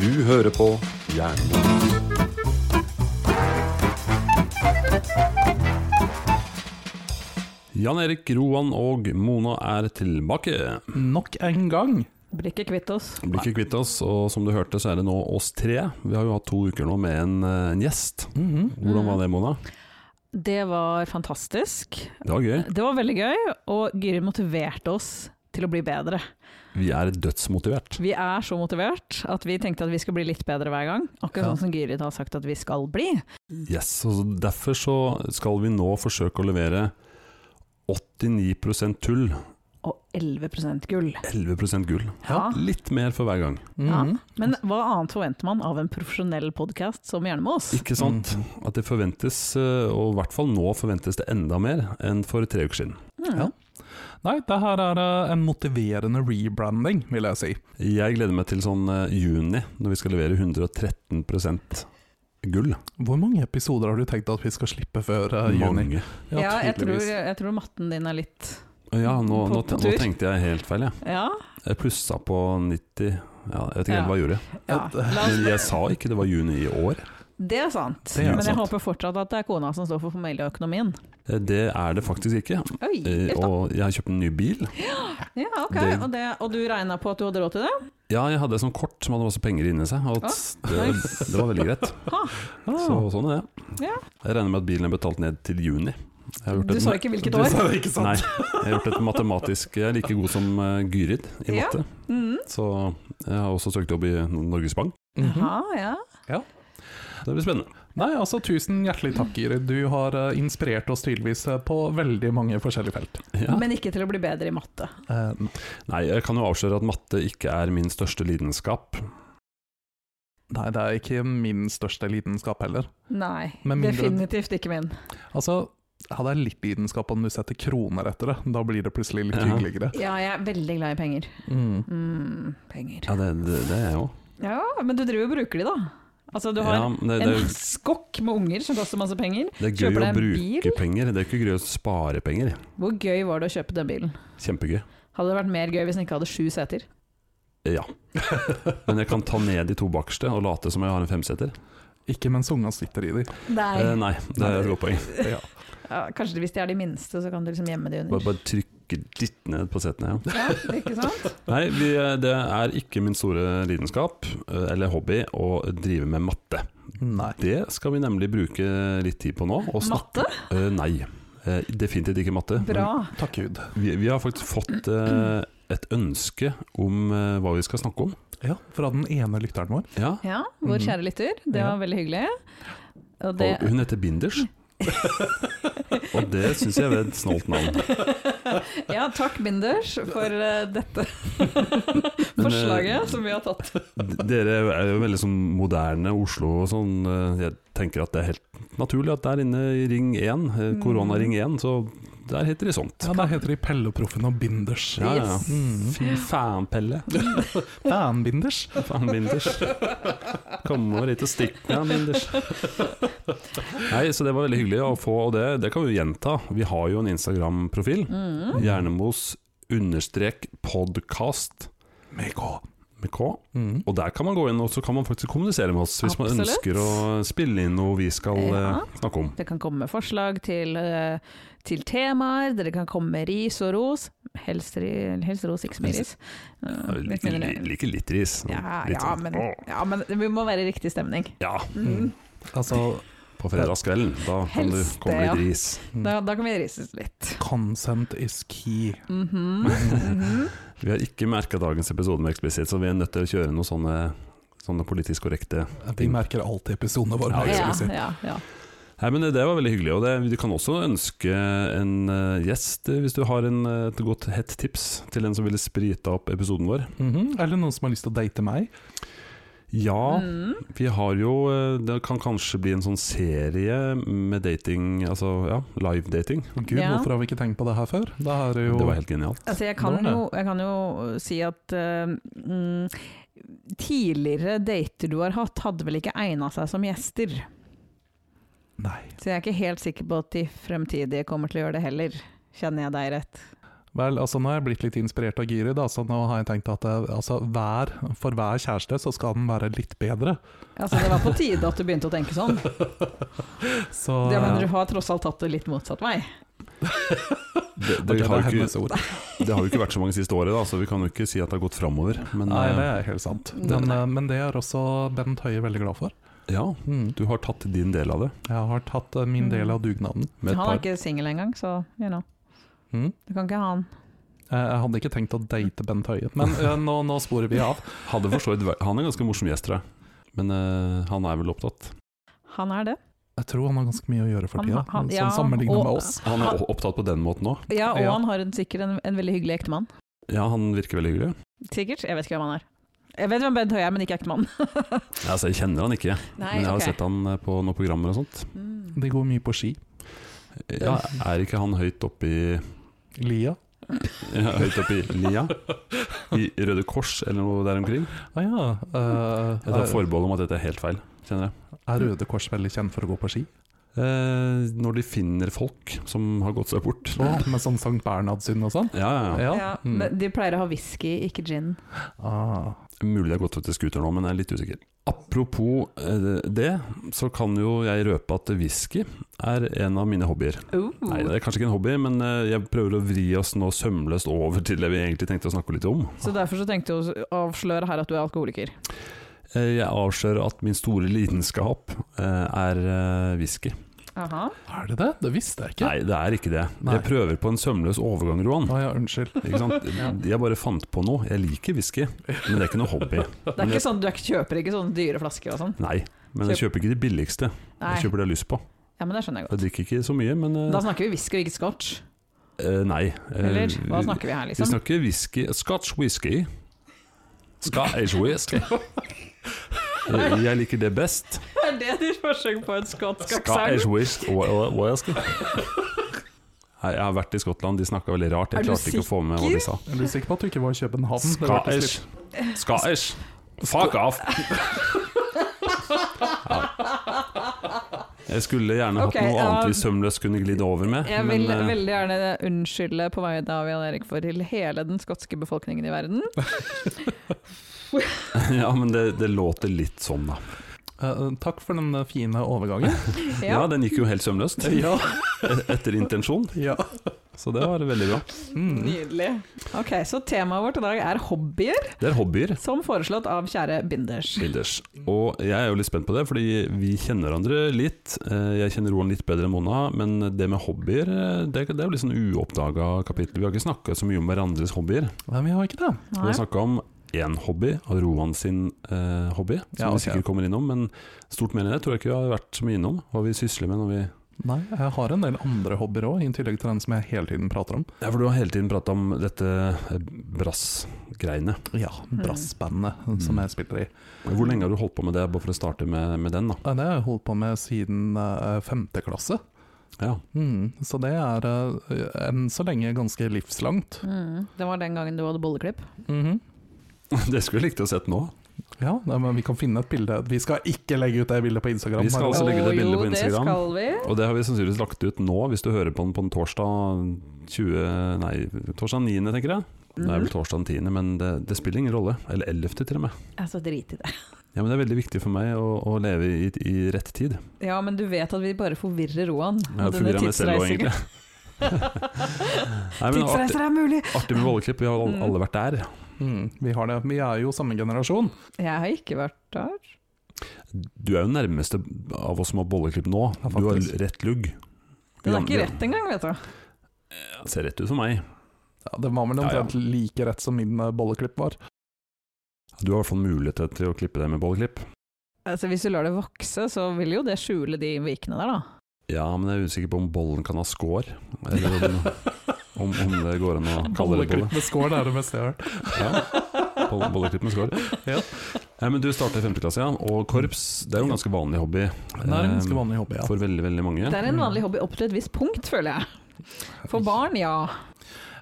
Du hører på Jernbanen. Jan Erik, Roan og Mona er tilbake. Nok en gang. Blir ikke kvitt oss. Blir ikke kvitt oss, og som du hørte, så er det nå oss tre. Vi har jo hatt to uker nå med en, eh, en gjest. Hvordan var det, Mona? Det var fantastisk. Det var gøy. Det var veldig gøy, og Gyri motiverte oss til å bli bedre. Vi er dødsmotivert. Vi er så motivert at vi tenkte at vi skal bli litt bedre hver gang. Akkurat Ja. sånn som Gyrid har sagt at vi skal bli. Yes, og Derfor så skal vi nå forsøke å levere 89 tull, Og 11 gull. 11 gull. Ja. Litt mer for hver gang. ja. Mhm. Men hva annet forventer man av en profesjonell podkast som Gjerne med oss? Ikke sant? At det forventes, eh, og i hvert fall nå forventes det enda mer enn for tre uker siden. Mm. Ja. Nei, det her er eh, en motiverende rebranding, vil jeg si. Jeg gleder meg til sånn eh, juni, når vi skal levere 113 gull. Hvor mange episoder har du tenkt at vi skal slippe før eh, juni? Mange. Ja, jeg, tror, tydeligvis. jeg tror matten din er litt Ja, nå, nå, På- på nå tur. tenkte jeg helt feil, jeg. Ja. Jeg plussa på 90 ja, Jeg vet ikke Ja. helt hva jeg gjorde. ja. Et- La oss, Men jeg sa ikke det var juni i år. det er sant. Det er Men jeg sant. håper fortsatt at det er kona som står for familieøkonomien. Eh, Det er det faktisk ikke. Oi, Eh, uff da. Og jeg har kjøpt en ny bil. Ja, ok. Det- Og, det, og du regna på at du hadde råd til det? Ja, jeg hadde et sånt kort som hadde masse penger inni seg. Og det, nice. det var veldig greit. Ha. Så sånn er det. Ja. Jeg regner med at bilen er betalt ned til juni. Jeg har gjort Du et- sa ikke hvilket Du år. sa det ikke sant? Nei, jeg har gjort et matematisk Jeg er like god som eh, Gyrid i Ja. matte. Mhm. Så jeg har også søkt jobb i Norges Bank. Mhm. eh, Aha, ja. Det blir spennende. Nei, altså tusen hjertelig takk, Gyrid. Du har eh, inspirert oss tydeligvis eh, på veldig mange forskjellige felt. Ja. Men ikke til å bli bedre i matte. Eh, Nei, jeg kan jo avsløre at matte ikke er min største lidenskap. nei, det er ikke min største lidenskap heller. Nei, Men mindre- definitivt ikke min. Altså, hadde jeg litt lidenskap om du setter kroner etter det, da blir det plutselig litt Ja. hyggeligere. Ja, jeg er veldig glad i penger. Mm. Mm, penger. Ja, det, det, det er jeg òg. Ja, men du driver og bruker de, da. Altså, du har Ja, men det, det, en er- skokk med unger som koster masse penger. det er Kjøper gøy deg å en bruke bil? penger, det er ikke gøy å spare penger. Hvor gøy var det å kjøpe den bilen? Kjempegøy. Hadde det vært mer gøy hvis den ikke hadde sju seter? Ja. Men jeg kan ta ned de to bakerste og late som jeg har en femseter. Ikke mens unga sitter i de. Nei. Eh, nei, det er et godt poeng. Ja. Ja, kanskje hvis de er de minste, så kan du liksom gjemme de Bare, under. bare trykke litt ned på setene. Ja. Ja, ikke sant? Nei, vi, eh, det er ikke min store lidenskap eh, eller hobby å drive med matte. Nei. Det skal vi nemlig bruke litt tid på nå. og snakke- Matte? Eh, nei, Eh, definitivt ikke matte. men Bra. Takk Gud. Vi, vi har faktisk fått eh, et ønske om eh, hva vi skal snakke om. Ja, fra den ene lytteren vår. Ja. Ja, vår Mm. Mhm. kjære lytter. Det Ja. var veldig hyggelig. Og det, Og hun heter Binders. og det syns jeg er et snålt navn. ja, takk Binders for eh, dette Men, eh, forslaget som vi har tatt. d- Dere er jo veldig sånn moderne Oslo og sånn. eh, Jeg tenker at det er helt naturlig at der inne i ring 1, eh, koronaring 1, så der heter de sånt. Ja, Der heter de Pelleproffen og Binders. Ja, ja. Yes. Mm. Fy faen, Pelle. Fanbinders. Faen, Binders. Kom over hit og stikk meg, Binders. Nei, så det var veldig hyggelig å få, og det, det kan vi jo gjenta. Vi har jo en Instagram-profil. Mm. Hjernemos understrek podcast Med K. med K. Mm. Og der kan man gå inn, og så kan man faktisk kommunisere med oss hvis man Absolutt. ønsker å spille inn noe vi skal eh, Ja. snakke om. Det kan komme med forslag til, eh, til temaer, dere kan komme med ris og ros. Helst, ri- helst ros, ikke så mye ris. Eh, Jeg litt liker, mindre. liker litt ris. Ja, Litt ja, sånn, men, «Åh». ja, men vi må være i riktig stemning. ja, Mm. Altså, på fredagskvelden. Da kan det Helst komme det, litt ris. Da, da kan vi rises litt. consent is key. Mhm, mhm. Vi har ikke merka dagens episode med eksplisitt, så vi er nødt til å kjøre noen sånne, sånne politisk korrekte Vi merker alltid episodene våre. Ja, med Ja, eksplisitt. ja, ja. Nei, men eh, Det var veldig hyggelig. og det, Du kan også ønske en eh, gjest eh, hvis du har en, eh, et godt hett tips til en som ville sprita opp episoden vår. Mhm. Eller noen som har lyst til å date meg. Ja, Mhm. vi har jo eh, Det kan kanskje bli en sånn serie med dating, altså ja, live-dating. Gud, Ja. hvorfor har vi ikke tenkt på det her før? Det her er jo Det var helt genialt. Altså, Hvordan jeg kan, er det? jo, jeg kan jo si at eh, mm, tidligere dater du har hatt, hadde vel ikke egna seg som gjester. Nei. Så jeg er ikke helt sikker på at de fremtidige kommer til å gjøre det heller. Kjenner jeg deg rett? Vel, altså Nå har jeg blitt litt inspirert av Giri, da, så nå har jeg tenkt at eh, altså, hver, for hver kjæreste så skal den være litt bedre. Altså, det var på tide at du begynte å tenke sånn. Så Det, men du har tross alt tatt det litt motsatt vei. Det, Ok, det, har jo hennes ikke, ord. det har jo ikke vært så mange siste året, da, så vi kan jo ikke si at det har gått framover. Men Nei, det eh, er helt sant. Nei. Men, eh, men det er også Bent Høie veldig glad for. eh, Mm. ja, du har tatt din del av det. Jeg har tatt eh, min del Mm. av dugnaden. Med et han er par. ikke singel engang, så you know. Mm. Du kan ikke ha han. Eh, Jeg hadde ikke tenkt å date Bent Høie, men eh, nå, nå sporer vi av. Hadde for så vidt vært- han er en ganske morsom gjest, tror jeg. Men eh, han er vel opptatt. Han er det. Jeg tror han har ganske mye å gjøre for Han- tida, han- sånn ja, sammenlignet og- med oss. Han er o- opptatt på den måten òg. Ja, og Ja. han har en, sikkert en, en veldig hyggelig ektemann. Ja, han virker veldig hyggelig. Sikkert. Jeg vet ikke hvem han er. Jeg vet hvem Bent Høie er, men ikke ektemann. Ja, Altså, jeg kjenner han ikke, men jeg har altså. sett han eh, på noen programmer og sånt. Mm. De går mye på ski. Ja, er ikke han høyt oppe i Lia. ja, Høyt oppe i lia? I Røde Kors eller noe der omkring? Ah, ja. eh, Jeg tar forbehold om at dette er helt feil, kjenner jeg. er Røde Kors veldig kjent for å gå på ski? Eh, når de finner folk som har gått seg bort. Å, med sånn Sankt Bernhardsynd og sånn? Ja, ja, ja. Ja, Mm. men De pleier å ha whisky, ikke gin. Ah. Mulig det har gått over til scooter nå, men jeg er litt usikker. Apropos eh, det, så kan jo jeg røpe at whisky er en av mine hobbyer. Oh. Nei, det er kanskje ikke en hobby, men eh, jeg prøver å vri oss nå sømløst over til det vi egentlig tenkte å snakke litt om. Så derfor så tenkte jeg å avsløre her at du er alkoholiker. Eh, Jeg avslører at min store lidenskap eh, er eh, whisky. Aha. Er det det? Det visste jeg ikke. Nei, det er ikke det. Nei. Jeg prøver på en sømløs overgang, Roan. Å ja, unnskyld. Ikke sant? Jeg bare fant på noe. Jeg liker whisky, men det er ikke noe hobby. Det er ikke sånn, du er ikke- kjøper ikke sånne dyre flasker og sånn? Nei, men jeg kjøper ikke de billigste. Nei. Jeg kjøper det jeg har lyst på. Ja, men det skjønner jeg godt. Jeg drikker ikke så mye, men eh, Da snakker vi whisky og ikke scotch. eh, Nei. Eh, Eller hva vi- snakker vi her, Vi liksom? snakker whisky Scotch whisky. Scotch whisky. Eh, Jeg liker det best. Er det ditt forsøk på en skotsk Scotch whisky Wa- wa- whisky. Nei, Jeg har vært i Skottland, de snakka veldig rart. Er Jeg du klarte ikke å få med hva de sa. Er du sikker på at du ikke var i København? Det hørtes litt- Scottish. Scottish. Fuck off! Ja. Jeg skulle gjerne hatt Ok, noe ja. annet vi sømløst kunne glide over med. Jeg vil men, eh, veldig gjerne unnskylde på vegne av Jan Erik for til hele den skotske befolkningen i verden. eh, ja, men det, det låter litt sånn, da. Eh, takk for den eh, fine overgangen. Ja, Ja. den gikk jo helt sømløst. e-, ja. Etter intensjon, ja. så det var veldig bra. Mm. Nydelig. Ok, Så temaet vårt i dag er hobbyer, Det er hobbyer. som foreslått av kjære Binders. Binders. Og jeg er jo litt spent på det, fordi vi kjenner hverandre litt. Eh, Jeg kjenner Roan litt bedre enn Mona, men det med hobbyer, eh, det, det er jo litt sånn uoppdaga kapittel. Vi har ikke snakka så mye om hverandres hobbyer. Nei, vi har ikke det. Vi har snakka om én hobby, og Roan sin eh, hobby, som Ja, vi ok. sikkert kommer innom. Men stort mer enn det tror jeg ikke vi har vært så mye innom. Hva vi sysler med når vi Nei, jeg har en del andre hobbyer òg, i tillegg til den som jeg hele tiden prater om. Ja, for du har hele tiden prata om dette eh, brassgreiene. Ja, brassbandet som jeg spiller i. Hvor lenge har du holdt på med det, bare for å starte med, med den, da? Eh, Det har jeg holdt på med siden eh, femte klasse. Ja. Mm. Så det er eh, enn så lenge ganske livslangt. Mm, det var den gangen du hadde bolleklipp. Mhm. Det skulle jeg likt å sett nå. Ja, nei, men vi kan finne et bilde. Vi skal ikke legge ut det bildet på Instagram. Vi skal altså- også bare- legge ut et Å, bilde på Jo, Instagram. det skal vi. Og det har vi sannsynligvis lagt ut nå, hvis du hører på den på en torsdag 20, nei, torsdag 9., tenker jeg. Det Mm. er vel torsdag den 10., men det, det spiller ingen rolle. Eller 11. til og med. Altså, drit i det. Ja, men Det er veldig viktig for meg å, å leve i, i rett tid. Ja, men du vet at vi bare forvirrer Roan. Jeg har forvirret meg selv også, egentlig. nei, men artig, Tidsreiser er mulig! artig med volleklipp, vi har al- alle vært der. Mm, vi har det. Vi er jo samme generasjon. Jeg har ikke vært der. Du er jo nærmeste av oss som har bolleklipp nå. Ja, Du har faktisk. rett lugg. Den er ikke rett engang, vet du. Det ser rett ut for meg. Ja, det var vel Ja, ja. omtrent like rett som min eh, bolleklipp var. Du har i hvert fall mulighet til å klippe deg med bolleklipp. Altså, hvis du lar det vokse, så vil jo det skjule de vikene der, da. Ja, men jeg er usikker på om bollen kan ha skår. Eller om, om, om det går an å kalle det bolle. Bolleklipp med skål er det beste jeg har hørt. Ja, boll- bolleklipp med skår. Ja. Nei, men du starter i femte klasse, ja. Og korps, det er jo en ganske vanlig hobby. Det er en ganske eh, vanlig hobby, ja. For veldig, veldig mange. Det er en vanlig hobby opp til et visst punkt, føler jeg. For barn, ja.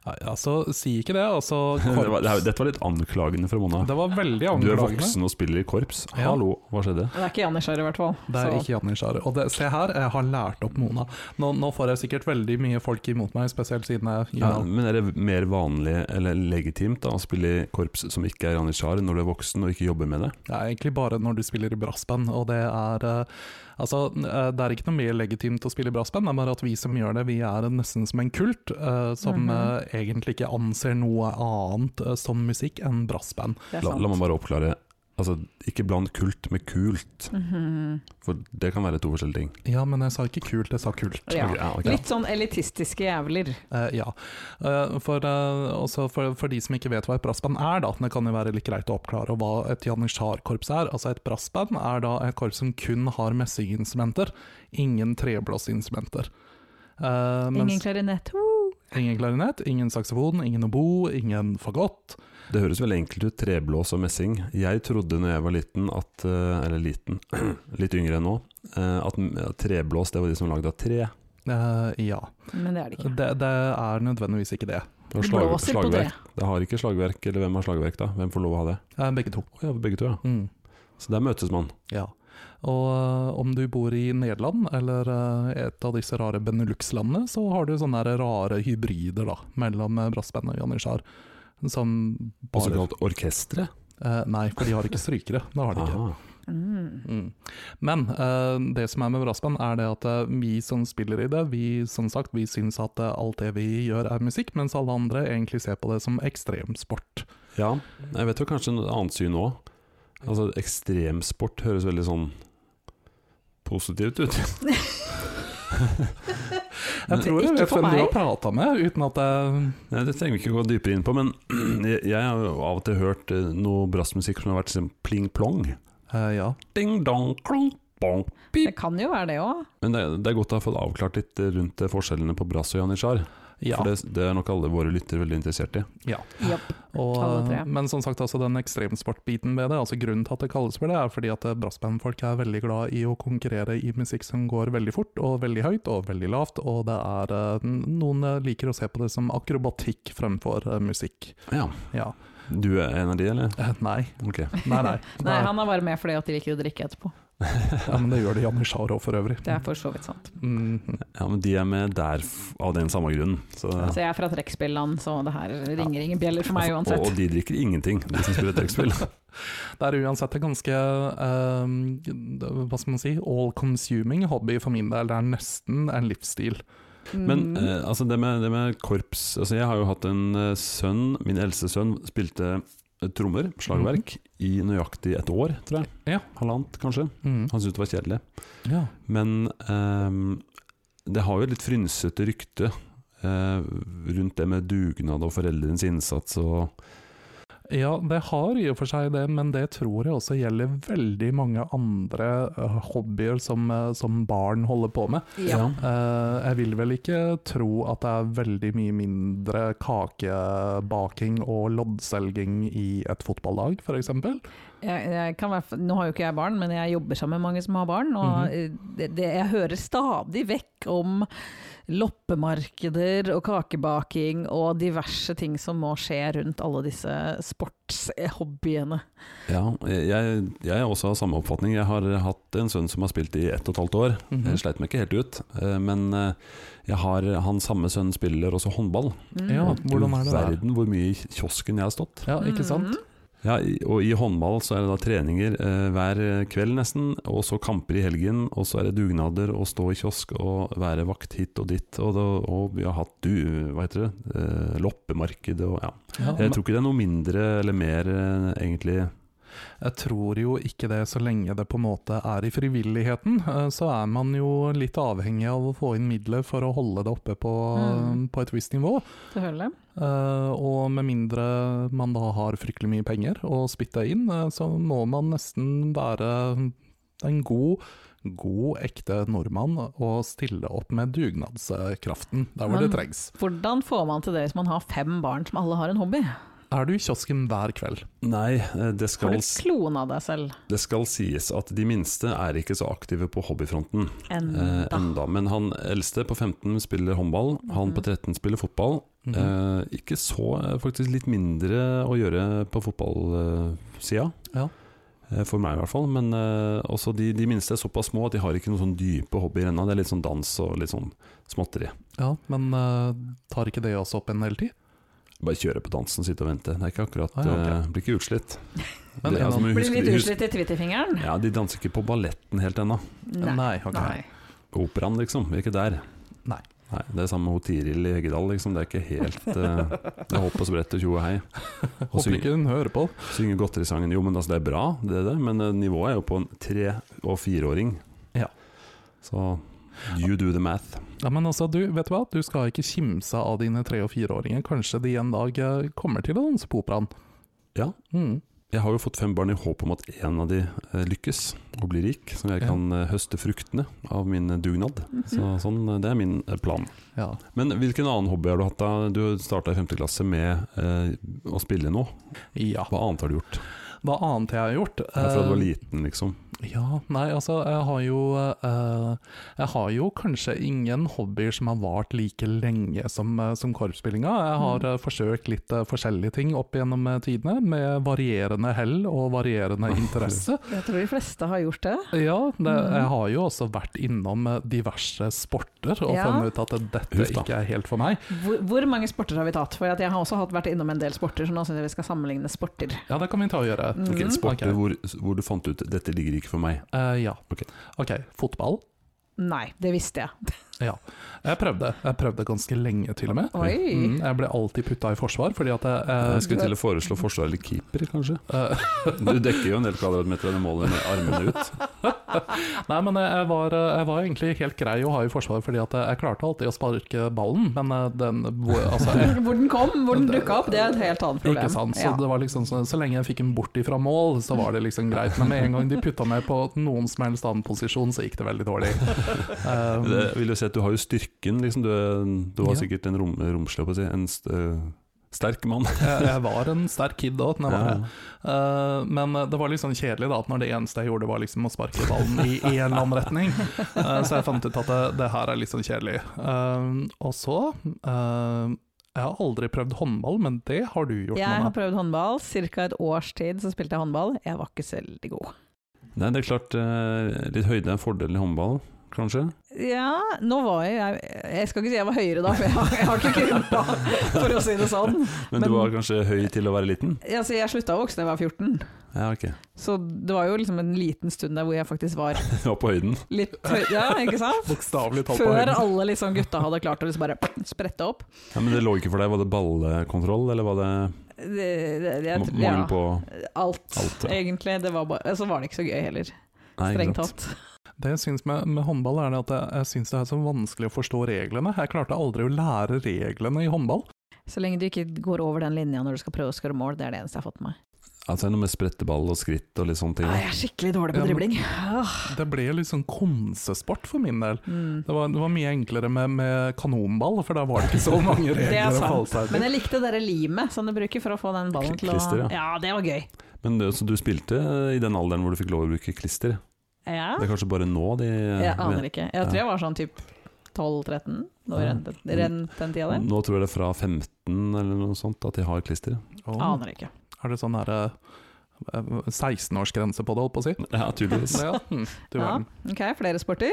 Nei, altså, si ikke det. Altså, Det var, det, korps. dette var litt anklagende fra Mona. Det var veldig Du er anklagende. voksen og spiller i korps. Ja. Hallo, hva skjedde? Det er ikke Jannis her, i hvert fall. Det er ikke Janni Skjære. Og det, se her, jeg har lært opp Mona. Nå, nå får jeg sikkert veldig mye folk imot meg, spesielt siden jeg Ja, Eh, men er det mer vanlig eller legitimt da, å spille i korps som ikke er janitsjar, når du er voksen og ikke jobber med det? Det er egentlig bare når du spiller i brassband, og det er eh, Altså, eh, det er ikke noe mer legitimt å spille i brassband, det er bare at vi som gjør det, vi er nesten som en kult, eh, som Mhm. eh, egentlig ikke anser noe annet eh, som musikk enn brassband. Det er La, sant. la meg bare oppklare. Altså, ikke bland kult med kult, Mhm. for det kan være to forskjellige ting. Ja, men jeg sa ikke kult, jeg sa kult. Ja. Ok, ok. Litt sånn elitistiske jævler. Eh, ja. Eh, for, eh, også for, for de som ikke vet hva et brassband er, da, det kan jo være litt greit å oppklare hva et janitsjarkorps er. Altså Et brassband er da et korps som kun har messinginstrumenter, ingen treblåsinstrumenter. Eh, Ingen mens, klarinett. Woo! ingen klarinett, ingen saksofon, ingen obo, ingen fagott. Det høres veldig enkelt ut, treblås og messing. Jeg trodde når jeg var liten, at, eh, eller liten, litt yngre enn nå, eh, at at treblås det var de som lagde av tre. Eh, ja. Men det er det ikke. Det, det er nødvendigvis ikke det. Det, var Det slag- blåser på slagverk. det. det har ikke slagverk, eller hvem har slagverk da? Hvem får lov å ha det? Eh, begge to. Å ja, begge to, ja. Mm. Så der møtes man. Ja. Og eh, om du bor i Nederland eller eh, et av disse rare Benelux-landene, så har du sånne der rare hybrider da, mellom eh, brassband og janitsjar. Som Også bare kalt orkestre. Ah. eh, Nei, for de har ikke strykere. Det har de ikke. Aha. Mm. Mm. Men eh, det som er med brassband, er det at eh, vi som spiller i det, vi som sagt, vi syns at eh, alt det vi gjør er musikk, mens alle andre egentlig ser på det som ekstremsport. Ja, jeg vet jo kanskje noe annet syn òg. Altså, ekstremsport høres veldig sånn positivt ut. Jeg tror jeg Ikke vet for hvem du meg. har prata med, uten at eh, jeg Nei, det trenger vi ikke gå dypere inn på, men jeg jeg har jo av og til hørt eh, noe brassmusikk som har vært sånn pling-plong. eh, Ja. Ding-dong, klong-bong. Det kan jo være det òg. Men det, det er godt å ha fått avklart litt eh, rundt eh, forskjellene på brass og janitsjar. ja. For det, det er nok alle våre lyttere veldig interessert i. Og, Alle tre. men som sagt, altså den ekstremsportbiten ved det, altså grunnen til at det kalles for det, er fordi at eh, brassbandfolk er veldig glad i å konkurrere i musikk som går veldig fort og veldig høyt og veldig lavt, og det er eh, noen eh, liker å se på det som akrobatikk fremfor eh, musikk. Ja. Ja. Du er en av de, eller? Eh, Nei, Ok. nei, nei. Nei, han er bare med fordi at de liker å drikke etterpå. ja, men det gjør det Janne Sjaro for øvrig. Det er for så vidt sant. Mhm. Ja, men de er med der f- av den samme grunnen. Så, Så jeg er fra trekkspilland, så det her ringer ingen bjeller for meg og, og uansett. de drikker ingenting, de som spiller trekkspill. Det er uansett en ganske, eh, hva skal man si, all-consuming hobby for min del. Det er nesten en livsstil. Men Mm. eh, altså det, med, det med korps altså Jeg har jo hatt en eh, sønn, min eldste sønn, spilte eh, trommer, slagverk, Mm. i nøyaktig et år, tror jeg. Ja. Halvannet, kanskje. Mhm. Han syntes det var kjedelig. Ja. Men ehm, det har jo et litt frynsete rykte eh, rundt det med dugnad og foreldrenes innsats og Ja, det har i og for seg det, men det tror jeg også gjelder veldig mange andre eh, hobbyer som, eh, som barn holder på med. ja. Eh, jeg vil vel ikke tro at det er veldig mye mindre kakebaking og loddselging i et fotballag, f.eks. Jeg, jeg kan være, f- nå har jo ikke jeg barn, men jeg jobber sammen med mange som har barn. Og eh, det, det, jeg hører stadig vekk om loppemarkeder og kakebaking og diverse ting som må skje rundt alle disse sportshobbyene. Ja, jeg, jeg er også av samme oppfatning. Jeg har hatt en sønn som har spilt i ett og et halvt år. Mm. Jeg sleit meg ikke helt ut, eh, men eh, jeg har han samme sønnen spiller også håndball. Mm. Ja, Og hvordan er det Du der? verden hvor mye i kiosken jeg har stått. Ja, ikke Mhm. sant? Ja, i- og i håndball så er det da treninger eh, hver kveld nesten, og så kamper i helgen, og så er det dugnader å stå i kiosk og være vakt hit og dit, og, da, og vi har hatt du, hva heter det, eh, loppemarked og ja. Ja, Jeg tror ikke det er noe mindre eller mer eh, egentlig. Jeg tror jo ikke det så lenge det på en måte er i frivilligheten. eh, Så er man jo litt avhengig av å få inn midler for å holde det oppe på, Mm. på et visst nivå. Selvfølgelig. Eh, og med mindre man da har fryktelig mye penger å spytte inn, eh, så må man nesten være en god, god ekte nordmann og stille opp med dugnadskraften der hvor det Men- trengs. Hvordan får man til det hvis man har fem barn som alle har en hobby? Eh, er du i kiosken hver kveld. Nei, eh, det Har skal, du klona deg selv det skal sies at de minste er ikke så aktive på hobbyfronten. Eh, enda? enda. Men han eldste på 15 spiller håndball, han på Mhm. 13 spiller fotball. Mhm. Eh, ikke så, eh, faktisk litt mindre å gjøre på fotballsida. Ja. Eh, for meg i hvert fall. Men eh, også de, de minste er såpass små at de har ikke noen sånn dype hobbyer ennå. Det er litt sånn dans og litt sånn småtteri. ja, men eh, tar ikke det også opp en hel tid? Bare kjøre på dansen, sitte og vente. Det er ikke akkurat, Ah, ja, eh, blir ikke utslitt. Men Det er altså en som av- å Blir huske- litt huske- utslitt i twitterfingeren? Ja, de danser ikke på balletten helt ennå. Nei. ok. Nei. Operaen, liksom. Vi er ikke der. Nei. Nei, Det er samme med Tiril i Heggedal, liksom. Det er ikke helt eh, Det er hopp og sprett og tjo og hei. Og Håper synge, ikke hun hører på. synge godterisangen. Jo, men altså, det er bra, det er det, men eh, nivået er jo på en tre- og fireåring. Ja. Så you do the math. Ja, men altså, du, vet du hva? Du skal ikke kimse av dine tre- og fireåringer. Kanskje de en dag eh, kommer til å danse på operaen. Ja. Mm. Jeg har jo fått fem barn i håp om at en av de eh, lykkes og blir rik, så jeg Ja. Mhm. kan eh, høste fruktene av min eh, dugnad. Så sånn, eh, Det er min eh, plan. ja. Men hvilken annen hobby har du hatt? da? Du starta i femte klasse med eh, å spille noe. Ja. Hva annet har du gjort? Hva annet jeg har gjort? Ja, Fra du var Eh, liten, liksom. Ja, nei, altså, jeg har jo eh, Jeg har jo kanskje ingen hobbyer som har vart like lenge som, eh, som korpsspillinga. Jeg har Mm. eh, forsøkt litt eh, forskjellige ting opp gjennom eh, tidene, med varierende hell og varierende interesse. Jeg tror de fleste har gjort det. Ja, det, Mm. Mhm. jeg har jo også vært innom eh, diverse sporter og Ja. funnet ut at dette Huff da. ikke er helt for meg. Hvor, hvor mange sporter har vi tatt? For at jeg har også hatt, vært innom en del sporter, så nå syns jeg vi skal sammenligne sporter. Ja, det kan vi ta og gjøre. Mm. Ok, Mhm. Sporter Ok. hvor, hvor du fant ut 'dette ligger ikke for meg'. Eh, ja. Ok. ok, fotball. Nei, det visste jeg. Jeg prøvde. Jeg prøvde ganske lenge, til og med. Oi! Mm, jeg ble alltid putta i forsvar, fordi at jeg, eh, Jeg skulle til å foreslå forsvar eller keeper, kanskje. eh, Du dekker jo en del kvadratmeter og du måler med armene ut. Mm. Nei, men jeg jeg var, jeg var egentlig helt grei å ha i forsvar, fordi at jeg klarte alltid å sparke ballen, men eh, den hvor- altså, jeg, Hvor den kom, hvor den dukka opp, det er et helt annet problem. Ikke sant? Så Ja. det var liksom så, så lenge jeg fikk den bort ifra mål, så var det liksom greit. Men med en gang de putta meg på noen som helst annen posisjon, så gikk det veldig dårlig. Um, Det vil jo si at du har jo styrken, liksom. Du, er- du var Ja. sikkert en rom, romslig, holdt jeg på å si. En st øh, sterk mann. jeg, jeg var en sterk kid da. når jeg var det. Eh, men det var litt sånn kjedelig da, at når det eneste jeg gjorde var liksom å sparke ballen i en eller annen retning. Eh, så jeg fant ut at det, det her er litt sånn kjedelig. Eh, og så eh, Jeg har aldri prøvd håndball, men det har du gjort Jeg noe har med. prøvd håndball. Ca. et års tid så spilte jeg håndball. Jeg var ikke så veldig god. Nei, det er klart, eh, litt høyde er en fordel i håndball, kanskje. Ja, nå var jeg Jeg skal ikke si jeg var høyere da, for jeg har, jeg har ikke krympa, for å si det sånn. Men, Men- du var kanskje høy til å være liten? Altså, jeg slutta å vokse da jeg var 14, Ja, ok. så det var jo liksom en liten stund der hvor jeg faktisk var Du var på høyden. litt høy. Ja, ikke sant? Bokstavelig talt på Før høyden. alle liksom gutta hadde klart å liksom bare sprette opp. Ja, men det lå ikke for deg. Var det ballekontroll, eller var det Det, det, jeg, ma- ja, mangel på alt, alt, ja. egentlig. Det var bare, så var det ikke så gøy heller, Nei, ikke strengt sant. tatt. Det jeg syns med, med håndball, er det at jeg, jeg syns det er så vanskelig å forstå reglene. Jeg klarte aldri å lære reglene i håndball. Så lenge du ikke går over den linja når du skal prøve å skåre mål, det er det eneste jeg har fått med meg. Altså, det er noe med spretteball og skritt og litt sånne ting. Nei, da. Jeg er skikkelig Ja, dårlig på men- dribling. Ah, Det ble litt sånn konsesport for min del. mm. Det var, det var mye enklere med, med kanonball, for da var det ikke så mange er regler å sant. forholde seg til. Men jeg likte det der limet som du bruker for å få den ballen til å Klister, ja. Ja, det var gøy. Men det, så du spilte eh, i den alderen hvor du fikk lov å bruke klister? Ja. Det er kanskje bare nå de Jeg aner ikke. Jeg tror jeg var sånn typ 12-13 da vi Ja. rent rent den tida der. Nå tror jeg det er fra 15 eller noe sånt at de har klister. Åh. Aner ikke. Er det sånn her eh, 16-årsgrense på det, holdt på å si? Ja, tydeligvis. Ja, mm, du Ja. verden. Ok, flere sporter.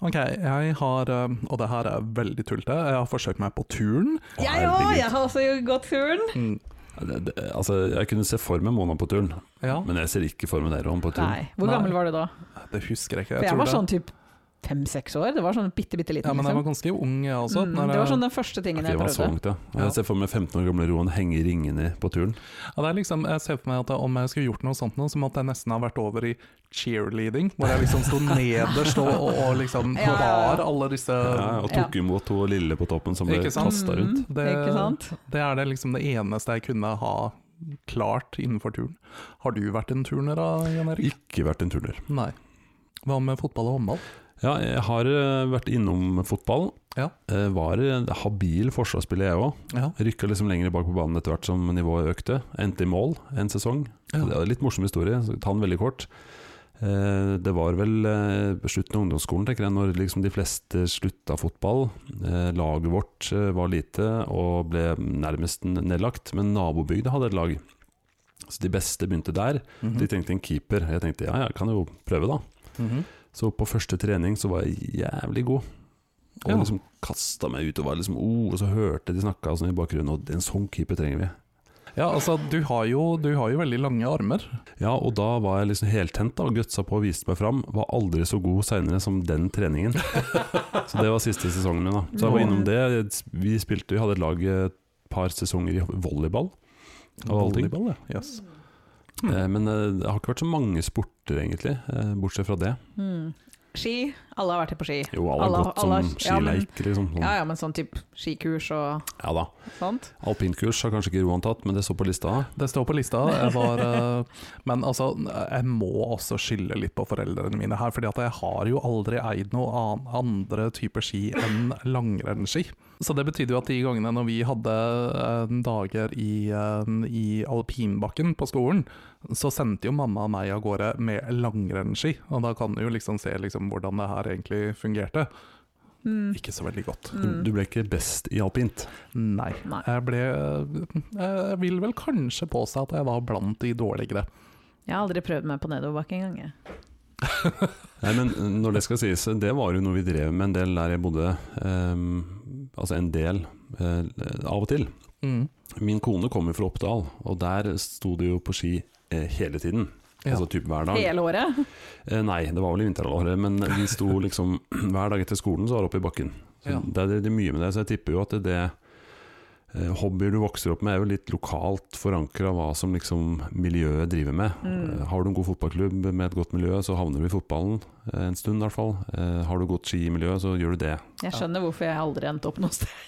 Ok, jeg har, eh, og det her er veldig tullete, jeg har forsøkt meg på turn. Å, Jeg òg! herregud. Jeg har også gått turen. Mm, Det, det, altså, jeg kunne se for meg Mona på turen, Ja, men jeg ser ikke for meg dere om på turen. Nei. Hvor Nei. gammel var du da? det husker jeg ikke. For jeg tror var det- sånn typ fem-seks år. Det var sånn bitte, bitte liten. Ja, men jeg var liksom. ganske ung jeg også. Mm, når det jeg- var sånn den første tingen Ok, jeg var så prøvde. langt, ja. Ja. Jeg ser for meg 15 år gamle Roan henge i ringene på turen. ja, det er liksom, jeg ser for meg at om jeg skulle gjort noe sånt nå, så måtte jeg nesten ha vært over i cheerleading, hvor jeg liksom sto nederst og, og, og liksom Ja, ja, ja. bar alle disse Ja, og tok imot hun lille på toppen som ble Ikke sant? kasta rundt. Mm, Det- Ikke sant? Det er det liksom det eneste jeg kunne ha klart innenfor turn. Har du vært en turner da, Jan Erik? Ikke vært en turner. Nei. Hva med fotball og håndball? Eh, Ja, jeg har eh, vært innom fotballen. Ja. Eh, Var en habil forsvarsspiller, jeg òg. Ja. Rykka liksom lenger bak på banen etter hvert som nivået økte. Endte i mål en sesong. Ja. Det er en litt morsom historie, så ta den veldig kort. Eh, Det var vel eh, på slutten av ungdomsskolen, tenker jeg, når liksom de fleste slutta fotball. Eh, Laget vårt eh, var lite og ble nærmest n- nedlagt, men nabobygda hadde et lag. Så de beste begynte der. Mhm. De trengte en keeper. Jeg tenkte ja, jeg kan jo prøve, da. Mhm. Så på første trening så var jeg jævlig god. Og Ja. liksom kasta meg ut og var liksom oh, Og så hørte de snakka sånn i bakgrunnen, og en sånn keeper trenger vi. Ja, altså, du har, jo, du har jo veldig lange armer. Ja, og da var jeg liksom heltent da, og gutsa på og viste meg fram. Var aldri så god seinere som den treningen. så det var siste sesongen min, da. Så jeg var innom det. Vi spilte, vi hadde et lag et par sesonger i volleyball. Av alle ting. Volleyball, ja. Yes. Eh, Men eh, det har ikke vært så mange sporter, egentlig, eh, bortsett fra det. Mm. Ski. Alle har vært på ski. Jo, alle Alle- har gått som alle har- ja, men- skileik, liksom. Sånn. Ja ja, men sånn type skikurs og ja da. sånt. Alpinkurs har kanskje ikke Roan tatt, men det står på lista. Det står på lista. Jeg var, eh, men altså, jeg må også skylde litt på foreldrene mine her. fordi at jeg har jo aldri eid noe annen, andre typer ski enn langrennsski. Så det betydde jo at de gangene når vi hadde eh, dager i, eh, i alpinbakken på skolen, så sendte jo mamma og meg av gårde med langrennsski. Og da kan du jo liksom se liksom hvordan det her egentlig fungerte. Mm. Ikke så veldig godt. Du, du ble ikke best i alpint. Nei. Nei. Jeg ble eh, Jeg vil vel kanskje påstå at jeg var blant de dårligere. Jeg har aldri prøvd meg på nedoverbakke engang. jeg. Nei, men eh, når det skal sies, det var jo noe vi drev med en del der jeg bodde. ehm, altså en del eh, av og til. Mm. Min kone kommer fra Oppdal, og der sto det jo på ski eh, hele tiden. Ja. Altså typ hver dag. Hele året. Eh, nei, det var vel i vinterhalvåret, men vi sto liksom hver dag etter skolen så var det oppe i bakken. Så Ja. Det, er- det er mye med det, så jeg tipper jo at det, det eh, Hobbyer du vokser opp med er jo litt lokalt forankra hva som liksom miljøet driver med. Mm. Eh, Har du en god fotballklubb med et godt miljø, så havner du i fotballen eh, en stund i hvert fall. Eh, Har du godt skimiljø, så gjør du det. Jeg skjønner hvorfor jeg aldri endte opp noe sted.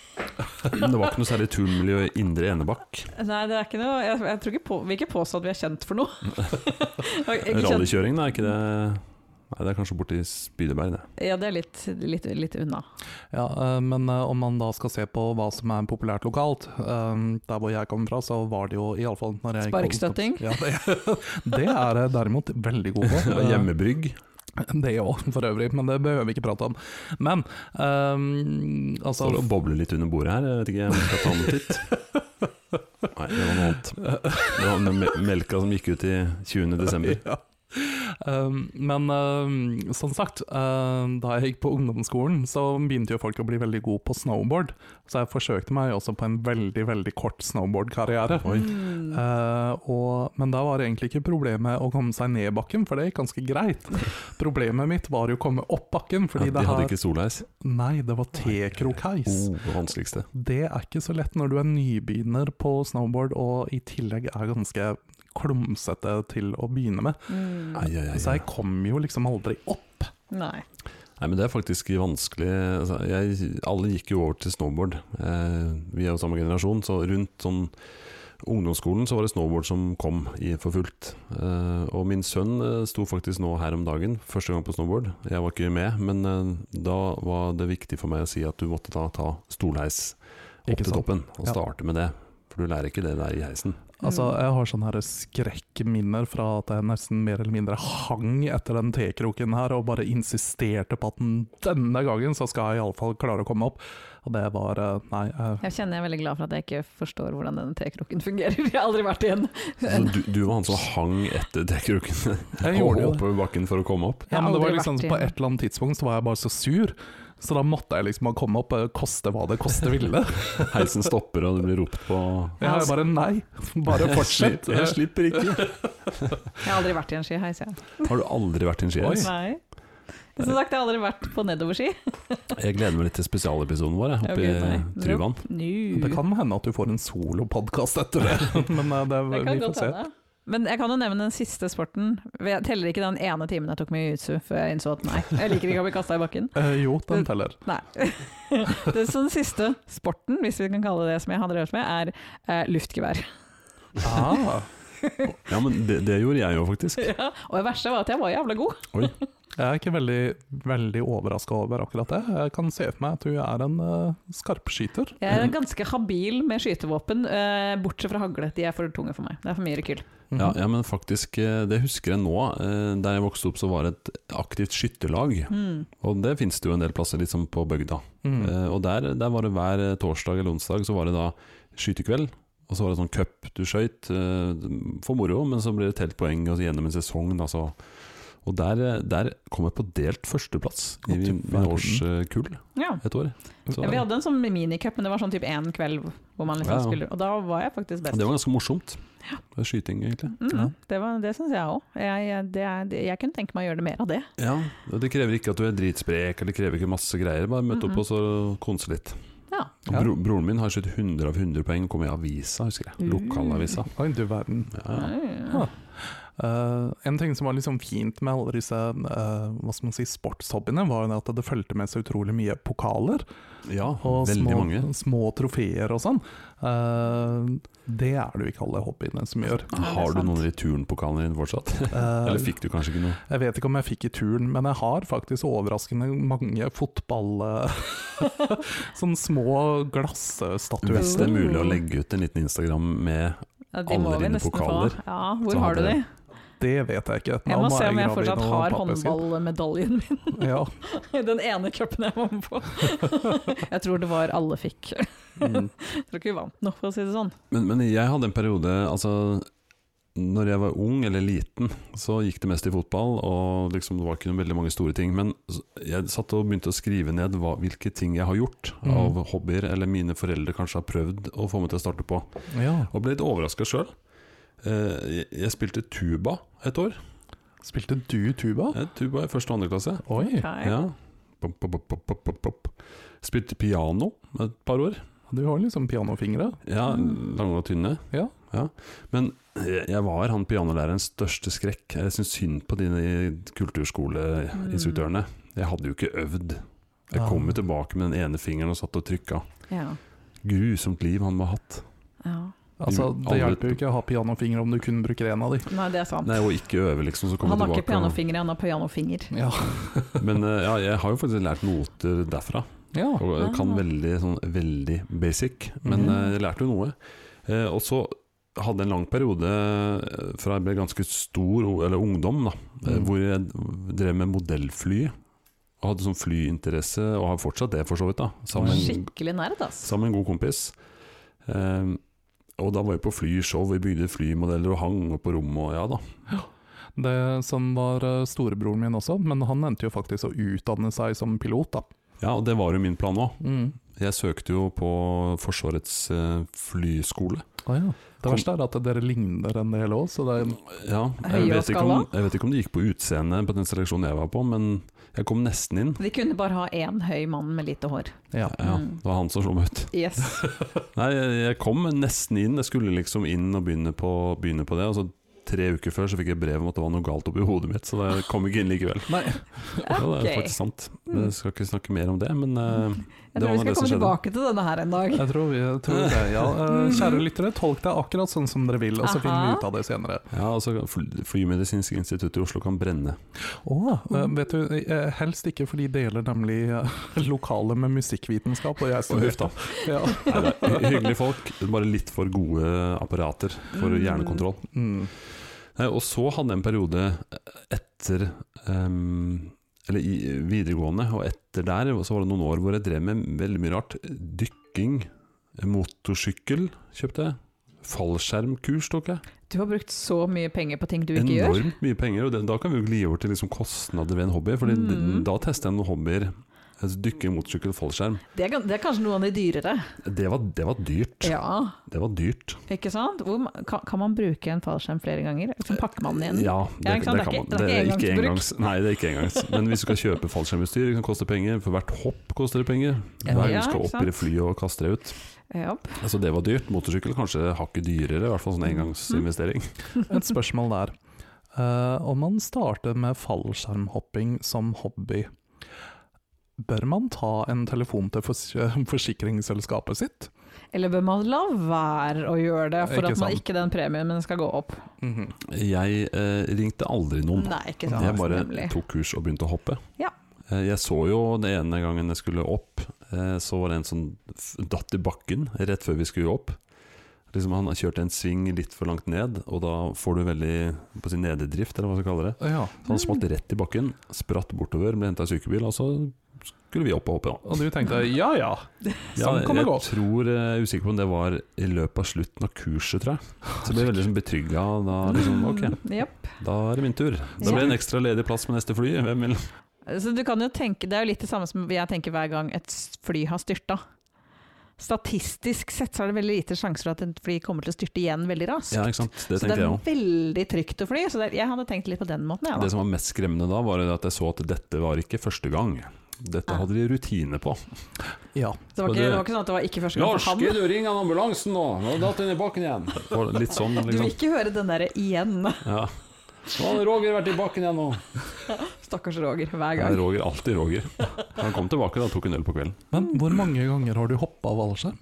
Men det var ikke noe særlig turnmiljø i Indre Enebakk. Nei, det er ikke noe Jeg, jeg tror ikke på, vil ikke påstå at vi er kjent for noe. Og ikke kjent, Rallykjøring, da, er ikke det Nei, det er kanskje borti Spydeberg, det. ja, det er litt, litt, litt unna. Ja, eh, men eh, om man da skal se på hva som er populært lokalt, eh, der hvor jeg kommer fra, så var det jo iallfall Sparkstøtting? Ja, det, det er jeg derimot veldig god på. Ja, Hjemmebrygg. Det òg, for øvrig, men det behøver vi ikke prate om. Men eh, altså Står og bobler litt under bordet her. Jeg vet ikke om jeg skal ta den titt. Nei, det var noe annet. Det var den me- melka som gikk ut i 20. desember. Ja. Um, men um, som sagt, um, da jeg gikk på ungdomsskolen, så begynte jo folk å bli veldig gode på snowboard. Så jeg forsøkte meg også på en veldig, veldig kort snowboardkarriere. Oi. Mm. Uh, og, men da var det egentlig ikke problemet å komme seg ned bakken, for det gikk ganske greit. Problemet mitt var jo å komme opp bakken, fordi Ja, de det hadde her ikke solheis. Nei, det var tekrokeis. Oh, det vanskeligste. Det er ikke så lett når du er nybegynner på snowboard og i tillegg er ganske klumsete til å begynne med. Mm. Ai, ai, ai. Så jeg kom jo liksom aldri opp. Nei. Nei, men det er faktisk vanskelig. Altså, jeg, alle gikk jo over til snowboard. Eh, vi er jo samme generasjon, så rundt sånn ungdomsskolen så var det snowboard som kom i for fullt. Eh, og min sønn eh, sto faktisk nå her om dagen, første gang på snowboard. Jeg var ikke med, men eh, da var det viktig for meg å si at du måtte da ta stolheis opp Ikke til sant? toppen, og Ja. starte med det. For du lærer ikke det der i heisen. Altså, jeg har sånne her skrekkminner fra at jeg nesten mer eller mindre hang etter den tekroken her og bare insisterte på at den, denne gangen så skal jeg iallfall klare å komme opp. Og det var eh, Nei. eh, Jeg kjenner jeg er veldig glad for at jeg ikke forstår hvordan denne tekroken fungerer. Jeg har aldri vært i en. Så du, du var han som hang etter dekkrukken Jeg og gjorde jo det. oppover bakken for å komme opp? Ja, men det Jeg har var aldri liksom vært i På en. et eller annet tidspunkt så var jeg bare så sur, så da måtte jeg liksom bare komme opp, eh, koste hva det koste ville. Heisen stopper, og det blir ropt på Jeg har bare nei, bare fortsett. Jeg slipper ikke. Jeg har aldri vært i en skiheis, jeg. Har du aldri vært i en Oi. skiheis? Nei. Som sagt, jeg har aldri vært på nedoverski. Jeg gleder meg litt til spesialepisoden vår jeg, Ja, oppe gud, nei. i Tryvann. Nu. Det kan hende at du får en solopodkast etter det, men eh, det, Det kan vi får godt se. hende. Men jeg kan jo nevne den siste sporten. Jeg teller ikke den ene timen jeg tok med jiu-jitsu før jeg innså at nei, jeg liker ikke å bli kasta i bakken. Eh, jo, den teller. Nei. Det er så den siste sporten, hvis vi kan kalle det det som jeg har drevet med, er eh, luftgevær. Ah. Ja, men det, det gjorde jeg jo faktisk. Ja. Og det verste var at jeg var jævla god. Oi. Jeg er ikke veldig, veldig overraska over akkurat det. Jeg kan se for meg at hun er en eh, skarpskyter. Jeg Mm. er ganske habil med skytevåpen, eh, bortsett fra hagle. De er for tunge for meg. Det er for mye rekyl. Mhm. Ja, ja, men faktisk, eh, det husker jeg nå. eh, Der jeg vokste opp så var det et aktivt skytterlag. Mm. Og det finnes det jo en del plasser liksom på bygda. Mhm. Eh, Og der, der var det hver eh, torsdag eller onsdag så var det da skytekveld. Og så var det sånn cup du skøyt eh, for moro, men så ble det telt poeng og så gjennom en sesong. Altså. Og der, eh, der kom jeg på delt førsteplass i Å, min, til min årskull Ja. et år. Så, Ja, vi hadde en sånn minicup, men det var sånn typ én kveld hvor man liksom Ja, ja. skulle Og da var jeg faktisk best. det var ganske morsomt. Det er Skyting, egentlig. Mm, Ja. Det, var- det syns jeg òg. Jeg, jeg- det er- det- jeg kunne tenke meg å gjøre det mer av det. Ja, og Det krever ikke at du er dritsprek eller krever ikke masse greier. Bare møte opp Mhm. og så konse litt. Ja. Og Ja. Bro, broren min har skjøtt 100 av 100 poeng, kom i avisa, husker jeg. Lokalavisa. Oi, du verden. Ja, ja. Mm. Eh, en ting som var liksom fint med alle disse eh, hva skal man si, sportshobbyene, var jo det at det fulgte med så utrolig mye pokaler. ja Og veldig små, mange. små trofeer og sånn. Eh, det er det jo ikke alle hobbyene som gjør. Ja, det er Har du sant. noen returnpokaler din fortsatt? Eh, Eller fikk du kanskje ikke noe? Jeg vet ikke om jeg fikk i turn, men jeg har faktisk overraskende mange fotball... eh, sånne små Hvis det glassstatuetter. er mulig å legge ut en liten Instagram med Ja, de må Alle vi dine nesten få. pokaler. Ja, hvor Så har du hadde- de? Det vet jeg ikke. Nå Jeg må se om jeg grave i fortsatt noen har pappesker. håndballmedaljen min Ja. i den ene cupen jeg var med på. Jeg tror det var alle fikk. Jeg tror ikke vi vant noe, for å si det sånn. Men, men jeg hadde en periode altså, Når jeg var ung eller liten, så gikk det mest i fotball. Og liksom, det var ikke veldig mange store ting. Men s- jeg satt og begynte å skrive ned hva, hvilke ting jeg har gjort Mm. Mhm. av hobbyer, eller mine foreldre kanskje har prøvd å få meg til å starte på. ja. Og ble litt overraska sjøl. Jeg jeg spilte tuba et år. Spilte du tuba? Eh, Tuba i første og andre klasse. Oi, Ok. Ja. Pop, pop, pop, pop, pop, pop. Spilte piano et par år. du har liksom pianofingre. Ja, Mm. Lange og tynne. Ja. Men eh, jeg jeg var han pianolærerens største skrekk. Jeg syns synd på dine kulturskoleinstruktørene. Jeg hadde jo ikke øvd. Jeg kom Ah. jo tilbake med den ene fingeren og satt og trykka. Ja. Grusomt liv han må ha hatt. ja. Altså, Du- det alle- hjelper jo ikke å ha pianofingre om du kun bruker én av de. Nei, det er sant. Nei, og ikke øve, liksom. Så kom han jeg har ikke tilbake. og- pianofingre, han har pianofinger. Ja. Men eh, ja, jeg har jo faktisk lært noter derfra. ja. Og jeg kan Ah. veldig, sånn, veldig basic, men Mhm. eh, jeg lærte jo noe. Eh, og så hadde jeg en lang periode eh, fra jeg ble ganske stor, o- eller ungdom, da, eh, Mhm. hvor jeg drev med modellfly. Og hadde sånn flyinteresse, og har fortsatt det, for så vidt. da Sammen med en- Skikkelig nerd, ass. sammen med en god kompis. Eh, og da var vi på flyshow, vi bygde flymodeller og hang opp på rommet og ja da. Det som var eh, storebroren min også, men han endte jo faktisk å utdanne seg som pilot, da. Ja, og det var jo min plan òg. Mm. Jeg søkte jo på Forsvarets eh, flyskole. Ah, ja. Det Kom- verste er at dere ligner en del òg, så det er Ja, jeg Høye og vet, ikke om, skalla? jeg vet ikke om det gikk på utseendet på den seleksjonen jeg var på, men jeg kom nesten inn. De kunne bare ha én høy mann med lite hår. ja. Ja, Mm. det var han som slo meg ut. Yes. Nei, jeg jeg kom nesten inn. Jeg skulle liksom inn og begynne på, begynne på det. Og så tre uker før så fikk jeg brev om at det var noe galt oppi hodet mitt, så jeg kom ikke inn likevel. Nei. Ja, det er Ok. Mm. faktisk sant. Men Jeg skal ikke snakke mer om det, men eh, det Jeg tror var vi nå skal det som komme skjedde. tilbake til denne her en dag. Jeg tror, jeg tror det, ja. Eh, Kjære lyttere, tolk deg akkurat sånn som dere vil, og så finner vi ut av det senere. Ja, altså Fly- Flymedisinsk institutt i Oslo kan brenne. Eh, vet du, eh, helst ikke, for de deler nemlig eh, lokale med musikkvitenskap, og jeg Og huff studerte. da. Ja. Nei, det er hy- Hyggelige folk, bare litt for gode apparater for hjernekontroll. Nei, Mm. Eh, og så hadde jeg en periode eh, etter ehm, Eller i videregående, og etter der så var det noen år hvor jeg drev med veldig mye rart. Dykking, eh, motorsykkel kjøpte jeg. Fallskjermkurs tok jeg. Du har brukt så mye penger på ting du ikke gjør. Enormt mye penger. Og det, da kan vi jo gli over til liksom kostnader ved en hobby. Fordi Mm. d- da tester jeg noen hobbyer. Altså dykking, motorsykkel, fallskjerm. Det er, gan- det er kanskje noe av de dyrere. Det var, det var dyrt. Ja, Det var dyrt. ikke sant? Hvor, ma- kan, kan man bruke en fallskjerm flere ganger? Så pakker man den igjen? Ja, det, ikke sant? det Det er kan ikke- man. det er ikke engangsbruk. Nei, det er ikke engangs. Men hvis du skal kjøpe fallskjermutstyr, det kan koste penger. For hvert hopp koster det penger. Ja, Hver gang ja, du skal ikke opp i det flyet og kaste deg ut. Ja. Altså Det var dyrt. Motorsykkel kanskje hakket dyrere, i hvert Mhm. fall sånn engangsinvestering. Et spørsmål der. Eh, om man starter med fallskjermhopping som hobby, bør man ta en telefon til fors forsikringsselskapet sitt? Eller bør man la være å gjøre det for Ikke at man sant. ikke den premien men skal gå opp? Mhm. Jeg eh, ringte aldri noen. Nei, ikke sant. Jeg bare Nemlig. tok kurs og begynte å hoppe. Ja. Eh, Jeg så jo den ene gangen jeg skulle opp, eh, så var det en som f- datt i bakken rett før vi skulle opp. Liksom han kjørte en sving litt for langt ned, og da får du veldig på sin nederdrift, eller hva skal kalle det. Ja. Så han smalt rett i bakken, spratt bortover, ble henta i sykebil, og så skulle vi opp og hoppe. da. Og du tenkte ja ja, Ja, sånn kan det jeg gå. tror, eh, jeg er usikker på om det var i løpet av slutten av kurset, tror jeg. Så jeg ble veldig liksom, betrygga. Da, liksom, ok, Mm, jep. da er det min tur. Da blir det en ekstra ledig plass på neste fly. Hvem vil Så du kan jo tenke, Det er jo litt det samme som jeg tenker hver gang et s- fly har styrta. Statistisk sett så er det veldig lite sjanser for at et fly kommer til å styrte igjen veldig raskt. Ja, ikke sant. Det så det tenkte er jeg òg. veldig trygt å fly. Så det er, jeg hadde tenkt litt på den måten. Det Jeg, da. som var mest skremmende da, var at jeg så at dette var ikke første gang. Dette hadde de rutine på. Ja. Det, var og ikke, det- det var ikke sånn at det var ikke første gang for han. du ringe ambulansen nå? Nå har datt inn i bakken igjen. Litt sånn, Du vil liksom. ikke høre den derre igjen. Ja. Nå har Roger vært i bakken igjen nå. Stakkars Roger, hver Ja, gang. Roger, alltid Roger. Han kom tilbake da, tok en øl på kvelden. Men hvor mange ganger har du hoppa fallskjerm?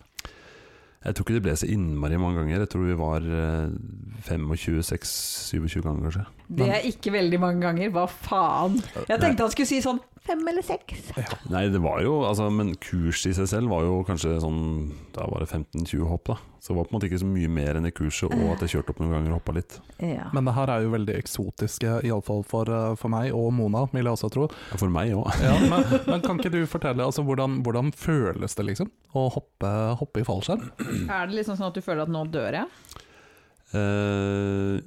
Jeg tror ikke det ble så innmari mange ganger. Jeg tror vi var eh, 25-26-27 ganger, kanskje. Det er ikke veldig mange ganger, hva faen? Jeg Nei. tenkte han skulle si sånn fem eller seks. Nei, det var jo altså, Men kurset i seg selv var jo kanskje sånn Da var det 15-20 hopp, da. Så det var på en måte ikke så mye mer enn det kurset, og at jeg kjørte opp noen ganger og hoppa litt. Ja. Men det her er jo veldig eksotiske, iallfall for, eh, for meg og Mona, vil jeg også tro. Ja, For meg òg. Ja, men, men kan ikke du fortelle altså, hvordan, hvordan føles det liksom å hoppe, hoppe i fallskjerm? Er det liksom sånn at du føler at nå dør jeg? Eh,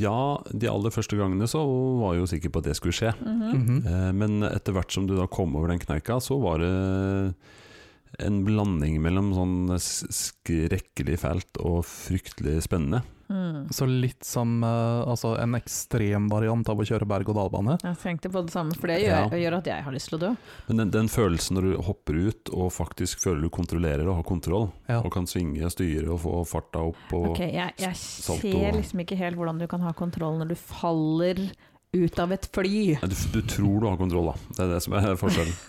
ja, de aller første gangene så var jeg jo sikker på at det skulle skje. Mhm. Mhm. Eh, men etter hvert som du da kom over den kneika, så var det en blanding mellom sånn s- skrekkelig fælt og fryktelig spennende. Mm. Så litt som eh, altså, en ekstrem variant av å kjøre berg-og-dal-bane. Jeg tenkte på det samme, for det gjør, gjør at jeg har lyst til å dø. Men den, den følelsen når du hopper ut og faktisk føler du kontrollerer og har kontroll, Ja. og kan svinge og styre og få farta opp og Ok, jeg, jeg salto. ser liksom ikke helt hvordan du kan ha kontroll når du faller ut av et fly. Nei, Du, du tror du har kontroll, da. Det er det som er forskjellen.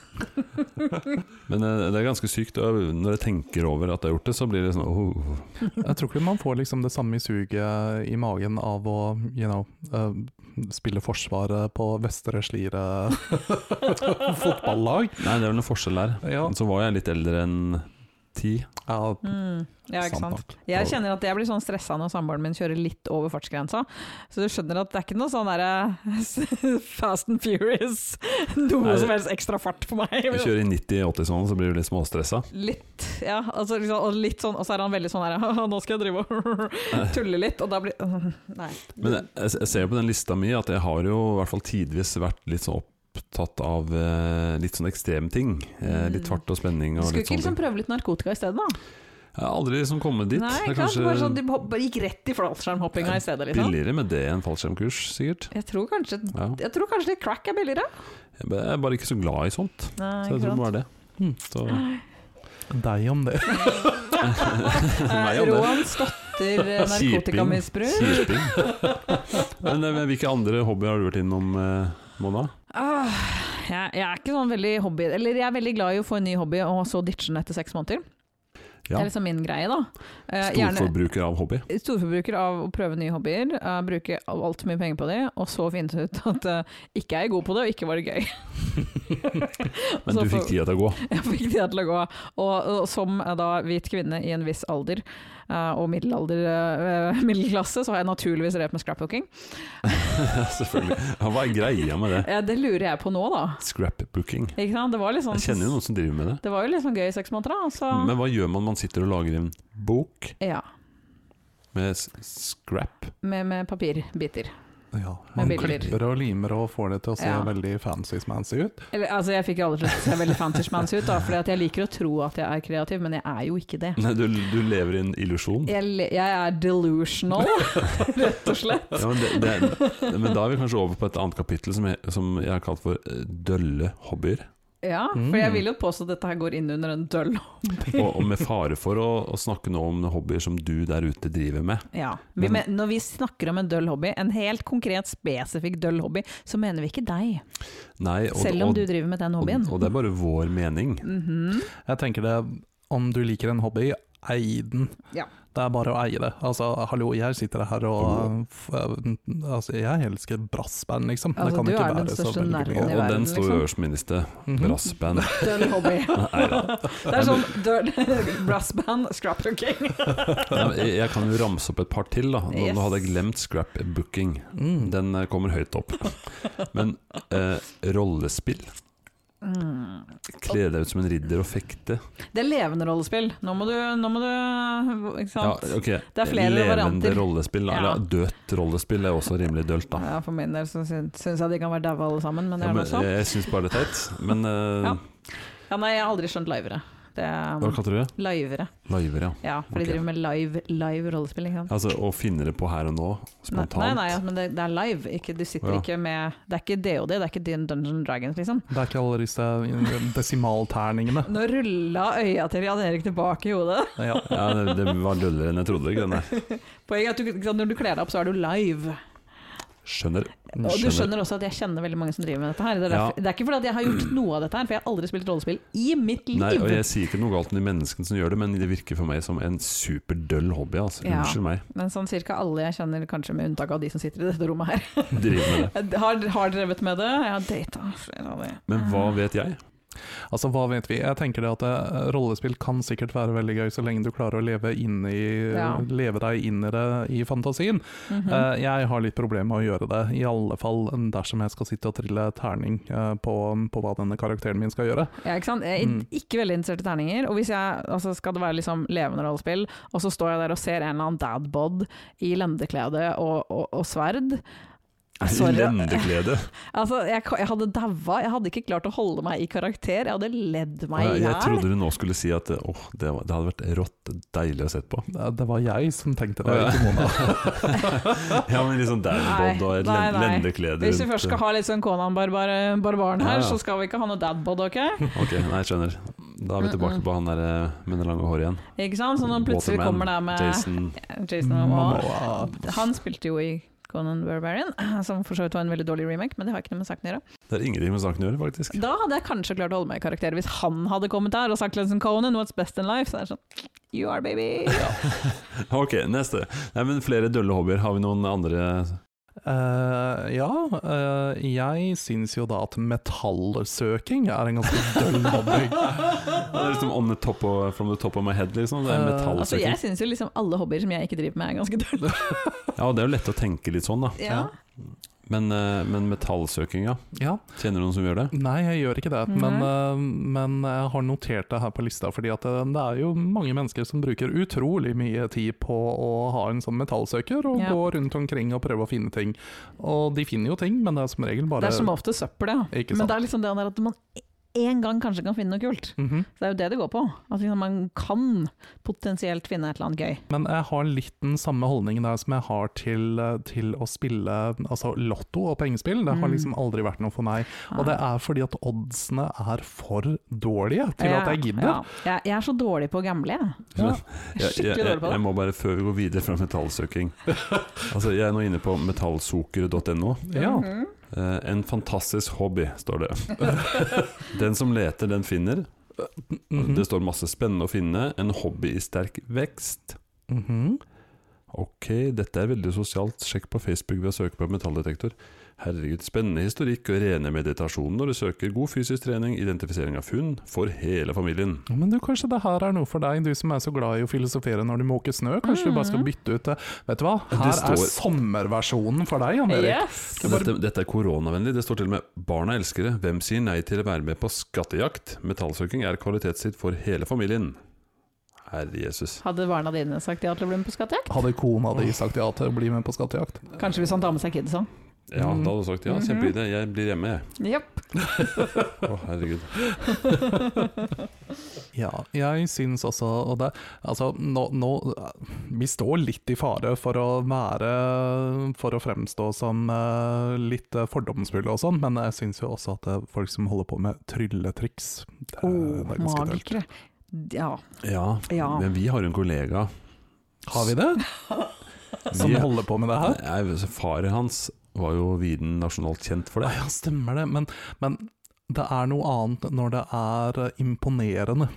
Men eh, det er ganske sykt. og Når jeg tenker over at jeg har gjort det, så blir det sånn oh. Jeg tror ikke man får liksom det samme suget i magen av å you know, eh, spille forsvaret på Vestre Slidre fotballag. Nei, det er vel noen forskjell der. Ja, Så var jeg litt eldre enn ti. ja, Mm. Ja, ikke sant? nok. Jeg kjenner at jeg blir sånn stressa når samboeren min kjører litt over fartsgrensa. Så du skjønner at det er ikke noe sånn derre Fast and Furious. Noe Nei. som helst ekstra fart for meg. Jeg kjører i 90-80 sånn, så blir du litt småstressa. Litt, ja. Altså, liksom, og litt sånn, og så er han veldig sånn her «Haha, Nå skal jeg drive og tulle litt, og da blir Nei. Men jeg, jeg ser jo på den lista mi at jeg har jo i hvert fall tidvis vært litt sånn opptatt av eh, litt sånn ekstreme ting. Eh, litt Mm. fart og spenning Du og skulle litt ikke sånne liksom ting. prøve litt narkotika isteden, da? Jeg har aldri liksom kommet dit. Nei, Det er ikke sant? Bare kanskje sånn, de hop- bare gikk rett i fallskjermhoppinga i stedet, liksom. billigere med det enn fallskjermkurs, sikkert. Jeg tror kanskje, Ja. jeg tror kanskje litt crack er billigere. Jeg er bare ikke så glad i sånt. Nei, Så jeg tror det må være det. Mm, Så, Deg om det. Meg om det. Eh, Roan støtter eh, narkotikamisbruk. Kjiping. Men eh, hvilke andre hobbyer har du vært innom, eh, Mona? Ah, jeg, jeg er ikke sånn veldig hobby Eller jeg er veldig glad i å få en ny hobby, og så ditche den etter seks måneder. Det Ja. er liksom min greie, da. Eh, gjerne- Storforbruker av hobby. Storforbruker av å prøve nye hobbyer, eh, bruke altfor mye penger på det, og så finne ut at eh, ikke er jeg god på det, og ikke var det gøy. Men Så du fikk Altså for- tida til å gå. Jeg fikk tida til å gå. Og, og som eh, da hvit kvinne i en viss alder, eh, og middelalder, eh, middelklasse, så har jeg naturligvis drevet med scrapbooking. Selvfølgelig. Ja, hva er greia med det? Eh, det lurer jeg på nå, da. Scrapbooking. Ikke sant? Det var litt Jeg sånn kjenner jo noen som Mm. driver med det. Det var jo litt sånn gøy i seks måneder, da. Så, Men hva gjør man? Man sitter og lager en bok ja, med s- scrap. med, med papirbiter. Ja, man bilder. klipper og limer og får det til å se Ja. veldig fancy-smancy ut. Eller, altså, jeg fikk jo aldri til å se veldig fantasymans ut, da, fordi at jeg liker å tro at jeg er kreativ, men jeg er jo ikke det. Nei, du, du lever i en illusjon. Jeg, le- jeg er delusional, rett og slett. Ja, men, det, det, men da er vi kanskje over på et annet kapittel som jeg, som jeg har kalt for eh, dølle hobbyer. Ja, for Mm. jeg vil jo påstå at dette her går inn under en døll. Og, og med fare for å, å snakke nå om hobbyer som du der ute driver med. Ja. Vi, Men- men, når vi snakker om en døll hobby, en helt konkret, spesifikk døll hobby, så mener vi ikke deg. Nei, og, Selv om og, du driver med den og, hobbyen. og det er bare vår mening. Mhm. Jeg tenker det, om du liker en hobby, Ei den. Ja. Det er bare å eie det. Altså, hallo, jeg sitter her Mm. og f- Altså, jeg elsker brassband, liksom. Altså, det kan du ikke er den være så største veldig nerden Og, mye. i og verden, den står liksom. jo øverst på min liste. Mhm. Brassband. Dønn hobby. Neida. Det er sånn dønn brassband, scrapbooking. Jeg, jeg kan jo ramse opp et par til. da Nå, Yes. nå hadde jeg glemt scrapbooking. Mm. Den eh, kommer høyt opp. Men eh, rollespill. Mm. Kle deg ut som en ridder og fekte. Det er levende rollespill. Nå må du, nå må du ikke Ja, sant? ok. Det er flere Levende varianter. rollespill, da. Ja. eller dødt rollespill, er også rimelig dølt, da. Ja, for min del så syns syns jeg de kan være daue alle sammen, men det Ja, er men noe sånn. jeg jeg syns bare det er teit. Men eh, Ja. Ja, nei, jeg har aldri skjønt livere. Det er hva kalte du det? Livere. Liver, ja. Ja, for de Ok. driver med live, live rollespill, ikke sant. Altså å finne det på her og nå, Nei, spontant. nei, nei, ja, men det, det er live. Ikke, du sitter Ja. ikke med Det er ikke DOD, det er ikke din Dungeon Dragons, liksom. Det er ikke alle disse eh, desimalterningene. Nå rulla øya til Jan Erik tilbake i hodet. Ja. Ja, det, det var døllere enn jeg trodde. ikke den der. Poenget er at du, ikke sant, når du kler deg opp, så er du live. Skjønner. Og du Skjønner. skjønner også at jeg kjenner veldig mange som driver med dette her. Det er, Ja. derfor, det er ikke fordi at jeg har gjort noe av dette her, for jeg har aldri spilt rollespill i mitt liv. Nei, og jeg sier ikke noe galt om de menneskene som gjør det, men det virker for meg som en superdøll hobby. Altså. Ja. Unnskyld meg. Men sånn cirka alle jeg kjenner, kanskje med unntak av de som sitter i dette rommet her, Driver med det. har, har drevet med det. Jeg har data flere av de. Men hva Ah. vet jeg? Altså, hva vet vi? Jeg tenker det at eh, rollespill kan sikkert være veldig gøy, så lenge du klarer å leve, inn i, Ja. leve deg inn i det i fantasien. Mhm. Eh, jeg har litt problemer med å gjøre det, i alle fall dersom jeg skal sitte og trille terning eh, på, på hva denne karakteren min skal gjøre. Ja, ikke sant? Jeg er Mm. ikke veldig interessert i terninger. Og hvis jeg, altså skal det være liksom levende rollespill, og så står jeg der og ser en eller annen dadbod i lendeklede og, og, og sverd Ah, Sorry. Lendeklede. Altså, jeg, ka- jeg hadde daua. Jeg hadde ikke klart å holde meg i karakter. Jeg hadde ledd Å, meg Jeg, i jeg hjel. trodde du nå skulle si at åh, det, var, det hadde vært rått deilig å se på. Det, det var jeg som tenkte Å, det, ja. ikke Mona. Ja, men liksom Nei, Downbod og et nei, len- nei. lendeklede Hvis vi først skal rundt ha litt sånn Conan barbar, Barbaren her, Ja, ja. så skal vi ikke ha noe dadbod, ok? Ok, nei, jeg skjønner. Da er vi tilbake på han der eh, med det lange håret igjen. Ikke sant? Så når plutselig Waterman, kommer det med Jason. Jason Momoa. Momoa. Han spilte jo i Conan Barbarian, som for så vidt var en veldig dårlig remake, men det har ikke noe med saken å gjøre. Det er ingenting med saken å gjøre, faktisk. Da hadde jeg kanskje klart å holde meg i karakter hvis han hadde kommet der og sagt Lenson Conan, what's best in life? Så er det sånn You are baby. Ok, neste. Nei, men flere dølle hobbyer. Har vi noen andre Eh, ja, eh, jeg syns jo da at metallsøking er en ganske døll hobby. Ja, Det er liksom on the top of, from the top of my head, liksom. Det er Eh, Altså, metallsøking. jeg syns jo liksom alle hobbyer som jeg ikke driver med, er ganske dølle. Ja, og det er jo lett å tenke litt sånn, da. Ja. Men, eh, men metallsøking, ja. Ja, Kjenner du noen som gjør det? Nei, jeg gjør ikke det, men, eh, men jeg har notert det her på lista. fordi at eh, det er jo mange mennesker som bruker utrolig mye tid på å ha en sånn metallsøker, og Ja. gå rundt omkring og prøve å finne ting. Og de finner jo ting, men det er som regel bare Det er som ofte søppel, ja. Ikke sant. Men det er liksom det der at man en gang kanskje kan finne noe kult. Mhm. Så Det er jo det det går på. At liksom man kan potensielt finne et eller annet gøy. Men jeg har litt den samme holdningen der som jeg har til, eh, til å spille altså lotto og pengespill. Det har Mm. liksom aldri vært noe for meg. Og det er fordi at oddsene er for dårlige til at jeg gidder. Ja. Jeg, jeg er så dårlig på å gamble, jeg. Ja. Jeg er skikkelig dårlig på jeg det. må bare, før vi går videre fra metallsøking Altså, Jeg er nå inne på metallsokeret.no. Ja. Mhm. Eh, en fantastisk hobby, står det. Den som leter, den finner. Mhm. Det står masse spennende å finne. En hobby i sterk vekst. Mhm. Ok, dette er veldig sosialt. Sjekk på Facebook ved å søke på metalldetektor. Herregud, spennende historikk og rene meditasjoner når du søker god fysisk trening, identifisering av funn, for hele familien. Ja, Men du, kanskje det her er noe for deg, du som er så glad i å filosofere når du måker snø. Kanskje du bare skal bytte ut det. Vet du hhva, her står- er sommerversjonen for deg, Jan Erik. Yes! Dette, dette er koronavennlig. Det står til og med 'Barna elsker det'. Hvem sier nei til å være med på skattejakt? Metallsøking er kvalitetstid for hele familien. Herre Jesus. Hadde barna dine sagt ja til å bli med på skattejakt? Hadde kona di sagt ja til å bli med på skattejakt? Kanskje hvis han tar med seg kidsa. Ja, Mm. da hadde du sagt Mhm. ja, kjempeidé, jeg blir hjemme, jeg. Jepp. Å, herregud. Ja, jeg syns også og det, Altså, nå, nå Vi står litt i fare for å være For å fremstå som eh, litt eh, fordomsfulle og sånn, men jeg syns jo også at eh, folk som holder på med trylletriks det, er- det er ganske dølt. magikere. Ja. Ja, Ja. men vi har jo en kollega Har vi det? Som Vi- holder på med det her? Nei, altså, Faren hans var jo viden nasjonalt kjent for det. Ja, stemmer det. Men, men det er noe annet når det er eh, imponerende.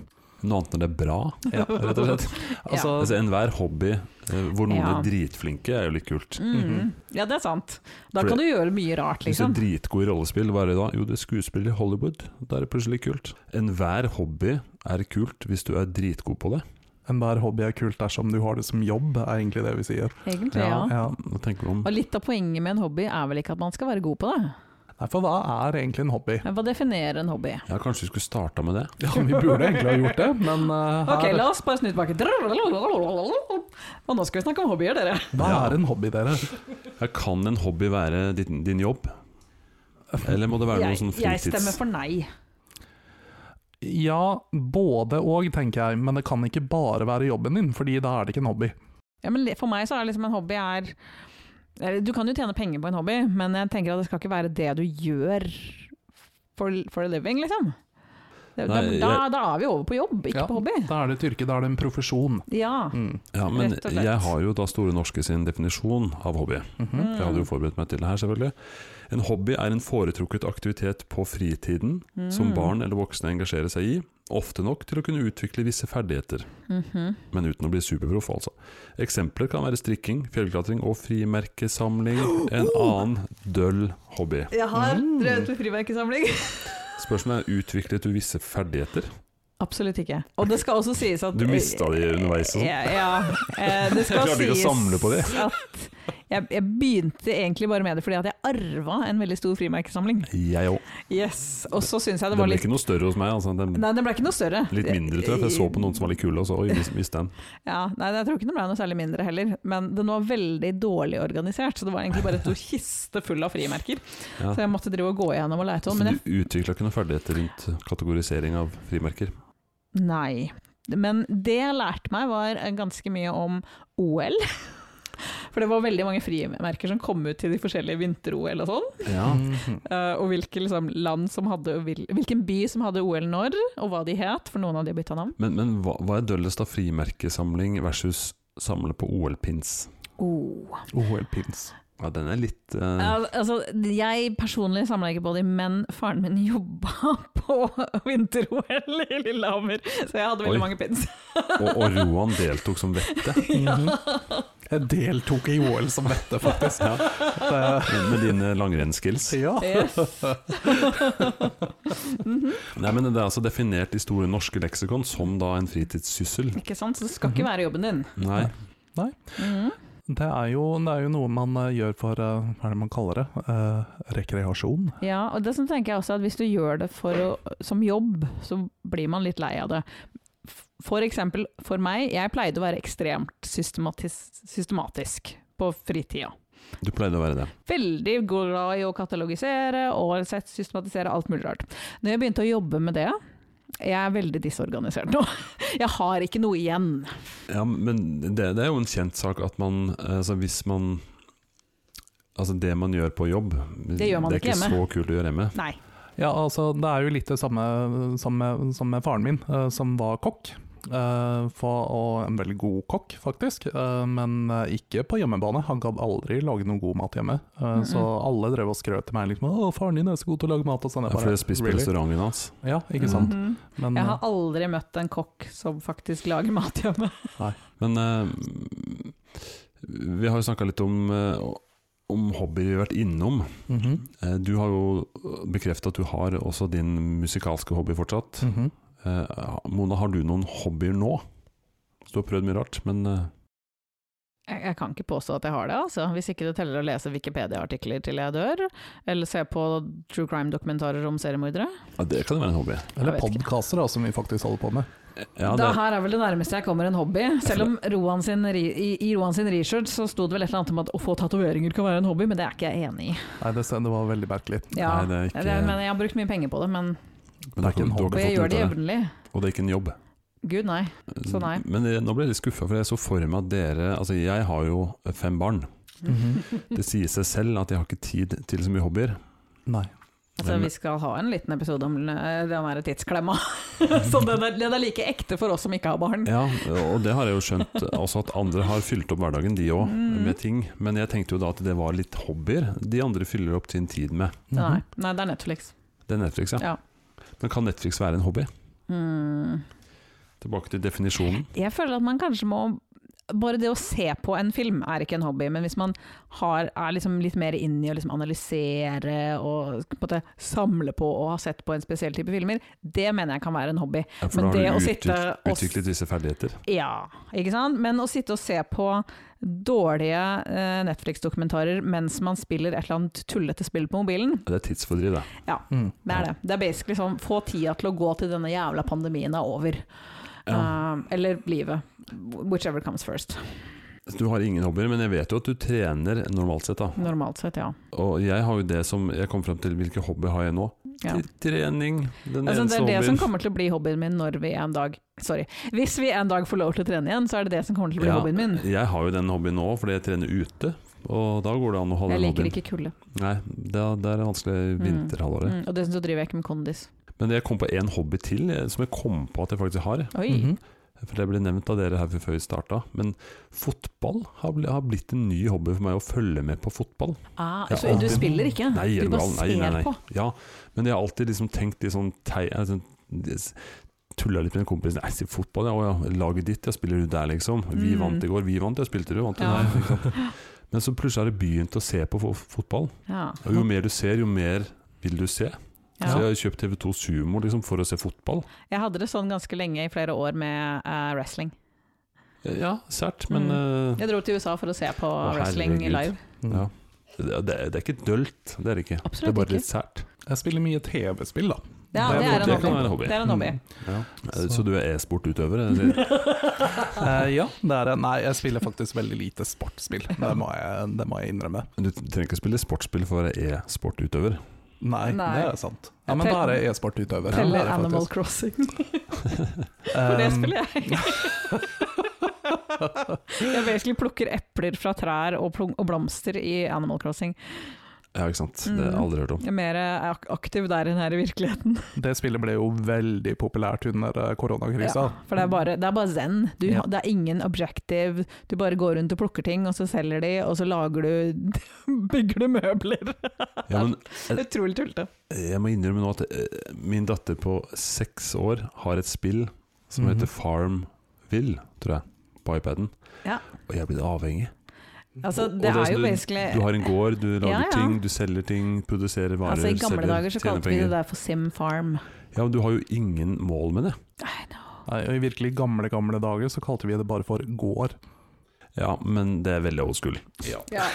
Noe annet når det er bra. Ja, rett og slett. Altså, Altså, Enhver hobby eh, hvor noen Ja. er dritflinke, er jo litt kult. Mm. Ja, det er sant. Da For kan du gjøre mye rart, Hvis Mhm. du er liksom. dritgod i rollespill, hva er det da? Jo, det er skuespill i Hollywood. Da er det plutselig kult. Enhver hobby er kult hvis du er dritgod på det. Enhver hobby er kult dersom du har det som jobb, er egentlig det vi sier. Egentlig, ja. Ja. Hva tenker du om Og litt av poenget med en hobby er vel ikke at man skal være god på det. Nei, for hva er egentlig en hobby? Men Hva definerer en hobby? Ja, kanskje vi skulle starta med det? Ja, vi burde egentlig ha gjort det, men eh, Ok, her, la oss bare snu tilbake. Og nå skal vi snakke om hobbyer, dere. hva er en hobby, dere? Ja, kan en hobby være din, din jobb? Eller må det være noe Jeg, sånn jeg stemmer fritids... for nei. Ja, både og, tenker jeg, men det kan ikke bare være jobben din, fordi da er det ikke en hobby. Ja, men le- for meg så er liksom en hobby er eller, Du kan jo tjene penger på en hobby, men jeg tenker at det skal ikke være det du gjør for, for a living, liksom. Da, Nei, da, jeg- da er vi over på jobb, ikke Ja. på hobby. Da er det et yrke, da er det en profesjon. Ja. Mm. Ja, men Rett og slett. jeg har jo da Store norske sin definisjon av hobby. Mhm. For Jeg hadde Mm. jo forberedt meg til det her, selvfølgelig. En hobby er en foretrukket aktivitet på fritiden Mm. som barn eller voksne engasjerer seg i, ofte nok til å kunne utvikle visse ferdigheter, Mhm. men uten å bli superproff, altså. Eksempler kan være strikking, fjellklatring og Oh! frimerkesamling. En annen døll hobby. Jeg har Mm. drevet med frimerkesamling. Spørsmålet er utviklet du visse ferdigheter? Absolutt ikke. Og det skal også sies at Du mista de underveis og sånn. Ja, ja. Eh, Det skal Jeg klarte ikke å sies samle på det. at jeg, jeg begynte egentlig bare med det fordi at jeg arva en veldig stor frimerkesamling. Jeg òg. Yes. Og så syns jeg Den det var ble litt ikke noe større hos meg. Altså. Den, Nei, den ble ikke noe større. litt mindre, tror jeg. for Jeg så på noen som var litt kule, og så oi, mis- mistet den. Ja, nei, Jeg tror ikke den ble noe særlig mindre heller, men den var veldig dårlig organisert. Så det var egentlig bare en stor kiste full av frimerker. Ja. Så jeg måtte drive og gå gjennom og leite Så om. Men jeg, du utvikla ikke noen ferdigheter rundt kategorisering av frimerker? nei. Men det jeg lærte meg, var eh, ganske mye om OL. For det var veldig mange frimerker som kom ut til de forskjellige vinter-OL og sånn. Ja. Mhm. Eh, og hvilke liksom, land som hadde og hvil- Hvilken by som hadde OL når, og hva de het. For noen av de bytta navn. Men, men hva, hva er døllest av frimerkesamling versus samle på OL-pins? Oh. OL-pins. Ja, den er litt eh, Al- altså, jeg personlig samla ikke på de, men faren min jobba på vinter-OL i Lillehammer, så jeg hadde veldig Oi. mange pins. og, og Roan deltok som vettet. Mhm. Jeg deltok i OL som dette, faktisk. Ja. Det, Med dine langrennsskills. ja. Yes. Nei, men Det er altså definert i Store norske leksikon som da en fritidssyssel. Ikke sant? Så det skal ikke være jobben din. Nei. Mhm. Det, er jo, det er jo noe man eh, gjør for eh, Hva er det man kaller det? Eh, rekreasjon. Ja, og det som tenker jeg også at hvis du gjør det for å, som jobb, så blir man litt lei av det. F- For eksempel for meg, jeg pleide å være ekstremt systematisk, systematisk på fritida. Du pleide å være det. veldig glad i å katalogisere og sett- systematisere alt mulig rart. Når jeg begynte å jobbe med det, jeg er veldig disorganisert nå. Jeg har ikke noe igjen. Ja, men det, det er jo en kjent sak at man altså Hvis man Altså det man gjør på jobb Det gjør man Det er ikke ikke hjemme. så kult å gjøre hjemme. Nei. Ja, altså, det er jo litt det samme som med, som med faren min, eh, som var kokk. Eh, for, og en veldig god kokk, faktisk, Eh, men eh, ikke på hjemmebane. Han gadd aldri lage noe god mat hjemme. Eh, Så alle drev og skrøt til meg liksom, 'Å, faren din er så god til å lage mat', og sånn. Ja, Jeg for bare, jeg spiste på «Really?» restauranten hans. Ja, ikke sant. Mhm. Men, Jeg eh, har aldri møtt en kokk som faktisk lager mat hjemme. Men eh, vi har jo snakka litt om, eh, om hobbyer vi har vært innom. mhm, Eh, du har jo bekrefta at du har også din musikalske hobby fortsatt. mhm. Eh, Mona, har du noen hobbyer nå? Så du har prøvd mye rart, men eh, Jeg, jeg kan ikke påstå at jeg har det, altså. Hvis ikke det teller å lese Wikipedia-artikler til jeg dør, eller se på true crime-dokumentarer om seriemordere. ja, det kan jo være en hobby. Eh, Eller vet ikke. podkaster, da, som vi faktisk holder på med. Ja, det det, her er vel det nærmeste jeg kommer en hobby. Selv om Roan sin, ri- i, i Roan sin research så sto det vel et eller annet om at å få tatoveringer kan være en hobby, men det er ikke jeg enig i. Nei, det, det var veldig merkelig. Ja, Nei, det er ikke- det, men jeg har brukt mye penger på det, men men du har det er ikke en ikke- du har og ikke jeg fått noe ut gjør det av det. jevnlig. Og det er ikke en jobb. Gud, nei. Så nei. Men eh, nå ble jeg litt skuffa, for jeg så for meg at dere Altså, jeg har jo fem barn. Mm-hmm. Mm-hmm. Det sier seg selv at jeg har ikke tid til så mye hobbyer. Nei. Altså, Men- vi skal ha en liten episode om eh, den der tidsklemma. så den er, den er like ekte for oss som ikke har barn. Ja, og det har jeg jo skjønt også at andre har fylt opp hverdagen de òg Mm. med ting. Men jeg tenkte jo da at det var litt hobbyer de andre fyller opp sin tid med. Nei, Mhm. nei, det er Netflix. Det er Netflix, ja. Ja. Men kan Netflix være en hobby? Mm. Tilbake til definisjonen. Jeg føler at man kanskje må Bare det å se på en film er ikke en hobby, men hvis man har, er liksom litt mer inni å liksom analysere og på en måte samle på og har sett på en spesiell type filmer, det mener jeg kan være en hobby. Ja, Men for da det har å du sitte utviklet, og s- utviklet visse ferdigheter. Ja, ikke sant? Men å sitte og se på dårlige eh, Netflix-dokumentarer mens man spiller et eller annet tullete spill på mobilen, Ja, Det er tidsfordriv, det. Mm. det er det. Det er basically sånn få tida til å gå til denne jævla pandemien er over. Ja. Eh, eller livet. Whichever comes first. Du har ingen hobbyer, men jeg vet jo at du trener normalt sett. da Normalt sett, ja. Og jeg har jo det som jeg kom frem til Hvilke hobbyer har jeg nå? ja. Til Trening. Den Altså, det eneste er det som hobbyen. kommer til å bli hobbyen min når vi en dag Sorry. Hvis vi en dag får lov til å trene igjen, så er det det som kommer til å bli Ja, hobbyen min. Jeg har jo den hobbyen nå, fordi jeg trener ute. Og da går det an å ha Jeg den liker hobbyen. ikke kulde. Nei, det er, det er vanskelig vinterhalvåret. Mm, og dessuten så driver jeg ikke med kondis. Men jeg kom på én hobby til, eh, som jeg kom på at jeg faktisk har. Oi! Mhm. For det ble nevnt av dere her før- før vi starta. Men fotball har bli- har blitt en ny hobby for meg, å følge med på fotball. Ah, Ja, så du alltid. spiller ikke? Nei, er du du bare gal? Nei, nei, ser nei. på? Ja, men jeg har alltid liksom tenkt litt sånn tei... Altså, Tulla litt med en kompis. Nei, si fotball, ja. Å ja. Laget ditt, ja. Spiller du der, liksom? Vi Mm. vant i går, vi vant, ja. Spilte du? Vant du? Ja. Nei. Ikke sant? Men så plutselig har jeg begynt å se på fo- fotball. Ja. Og jo mer du ser, jo mer vil du se. Så Altså, jeg Ja. har kjøpt TV2 Sumo liksom, for å se fotball. Jeg hadde det sånn ganske lenge i flere år med eh, wrestling. Ja, sært, men eh, Jeg dro til USA for å se på Å, wrestling herregud. live. Mm. Ja. det, det, er- det er ikke dølt. Det er det ikke. Det er Absolutt bare ikke. litt sært. Jeg spiller mye TV-spill, da. Ja, Det er det bra. er Det en kan være hobby. en hobby. Det er en hobby. Eh, Så- Så du er e-sportutøver? eller? Eh, ja, det er det. Nei, jeg spiller faktisk veldig lite sportsspill. Det må jeg, det må jeg innrømme. Du trenger ikke spille sportsspill for å være e-sportutøver. Nei, Nei. det er sant. Ja, men da er jeg e-sportutøver. Ja, det er Teller jeg Animal faktisk. Crossing. For det Um, spiller jeg. jeg basically plukker epler fra trær og, plung- og blomster i Animal Crossing. Ja, ikke sant. Det har jeg Mm. aldri hørt om. Jeg er mer eh, ak aktiv der enn her i virkeligheten. Det spillet ble jo veldig populært under eh, koronakrisa. Ja, for det er bare, det er bare zen. Du, Ja. Det er ingen objective. Du bare går rundt og plukker ting, og så selger de, og så lager du Bygger du møbler. Ja, men Utrolig tullete. jeg må innrømme nå at eh, min datter på seks år har et spill som Mhm. heter Farmville, tror jeg, på iPaden. Ja. Og jeg er blitt avhengig. Altså, Og- og det er er jo sånn basically Du, du har en gård, du lager Eh, Ja, ja. ting, du selger ting, produserer varer, altså, I gamle selger, dager så tjener kalte vi det penger. der for Sim Farm. Ja, men du har jo ingen mål med det. Nei, og I virkelig gamle, gamle dager så kalte vi det bare for gård. Ja, men det er veldig old school. Ja.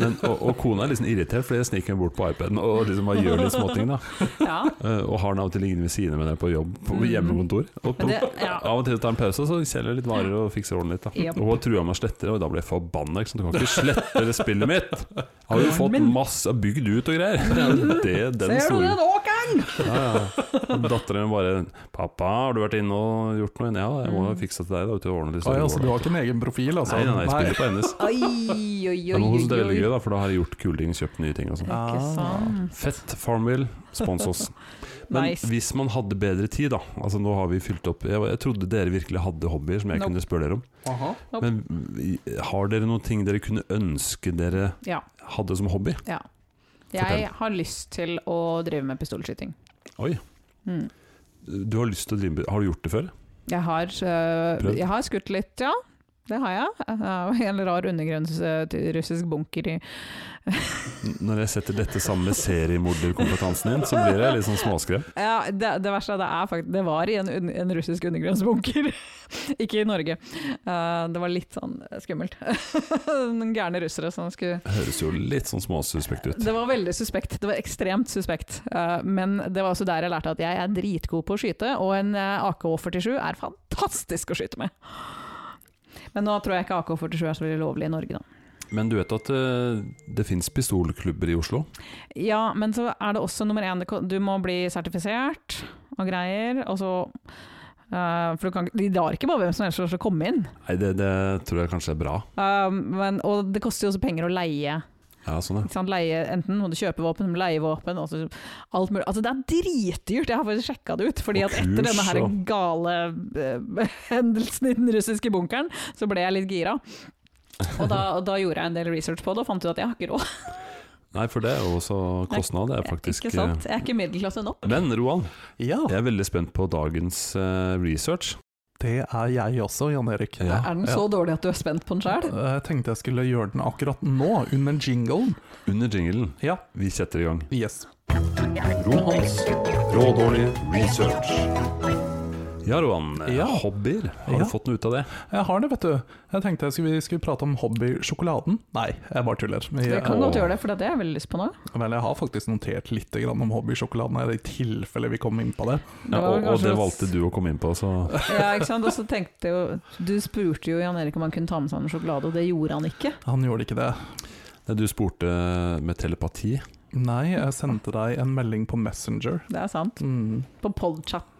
Men, og, og kona er liksom irritert, fordi jeg sniker meg bort på iPaden og liksom bare gjør litt småting. da ja. Eh, Og har den av og til liggende ved siden av meg når jeg er på jobb på Mm. hjemmekontor. Og Men på, det, ja. Av og til tar en pause, så selger jeg litt varer og fikser ordentlig. litt, da Yep. Og hun trua med å slette det, og da ble jeg forbanna. ikke sant? Du kan ikke slette det spillet mitt! Jeg har jo fått Min. masse bygd ut og greier. Det er jo det, den Ser du store den åkeren? ja, ja. Og Datteren min bare 'Pappa, har du vært inne og gjort noe?' 'Ja, jeg må Mm. jo fikse til deg, da.' Ute og ordne litt Å, store ja, så altså, du mål, har ikke en egen profil, da.» altså? Nei, nei, nei, jeg spiller på hennes. Oi, oi, oi. Men hun synes det er veldig gøy, oi. da, for da har jeg gjort kule ting, kjøpt nye ting og sånn. Ikke sant. Fett Farmville, spons oss. Men Nice. hvis man hadde bedre tid, da. Altså nå har vi fylt opp Jeg, jeg trodde dere virkelig hadde hobbyer som jeg Nope. kunne spørre dere om. Aha. Nope. Men vi- har dere noen ting dere kunne ønske dere Ja. hadde som hobby? Ja. Fortell. Jeg har lyst til å drive med pistolskyting. Oi. Mm. Du har lyst til å drive med- Har du gjort det før? Jeg har, øh, Prøvd? jeg har skutt litt, ja. Det har jeg. Jeg har En rar undergrunns øh, til russisk bunker i N- Når jeg setter dette sammen med seriemorderkompetansen din, så blir jeg litt sånn småskrev. ja, det, det verste er at det er faktisk Det var i en, un- en russisk undergrunnsbunker. Ikke i Norge. Eh, det var litt sånn skummelt. Noen gærne russere som skulle Høres jo litt sånn småsuspekt ut. Det var veldig suspekt. Det var ekstremt suspekt. Eh, men det var også der jeg lærte at jeg er dritgod på å skyte, og en eh, AK-47 er fantastisk å skyte med. Men nå tror jeg ikke AK-47 er så veldig lovlig i Norge, da. Men du vet at eh, det fins pistolklubber i Oslo? Ja, men så er det også nummer én det ko- Du må bli sertifisert og greier, og så eh, For du kan, ikke- de lar ikke bare hvem som helst lov til å komme inn. Nei, det, det tror jeg kanskje er bra. Eh, men, og det koster jo også penger å leie. Ja, sånn ja. Ikke sant? Leie, enten må du kjøpe våpen, leie våpen, altså alt mulig. Altså, det er dritdyrt! Jeg har faktisk sjekka det ut. Fordi Og at etter denne her kurs, gale eh, hendelsen i den russiske bunkeren, så ble jeg litt gira. Og da, og da gjorde jeg en del research på det, og fant ut at jeg har ikke råd. Nei, for det er jo også kostnad. Det er faktisk eh, ikke sant? Jeg er ikke middelklasse nok. Men Roan, Ja, jeg er veldig spent på dagens eh, research. det er jeg også, Jan Erik. Eh, Ja. Er den så dårlig at du er spent på den sjøl? Jeg tenkte jeg skulle gjøre den akkurat nå, under jinglen. Under jinglen. Ja, Vi setter i gang. yes. Rohans rådårlige research. Ja, Rohan. Ja. Hobbyer. Har Ja. du fått noe ut av det? Jeg har det, vet du. Jeg tenkte jeg skulle, vi skulle prate om hobbysjokoladen. Nei, jeg bare tuller. Vi- Jeg kan Ja. godt gjøre det, for det har jeg veldig lyst på nå. Vel, jeg har faktisk notert litt grann om hobbysjokoladen, her, i tilfelle vi kom inn på det. Ja, og, var og kanskje- det valgte du å komme inn på, så Ja, ikke sant? Og så tenkte jeg jo Du spurte jo Jan Erik om han kunne ta med seg en sjokolade, og det gjorde han ikke. Han gjorde ikke det. Nei, Du spurte med telepati. Nei, jeg sendte deg en melding på Messenger. Det er sant. Mm. På Podchat.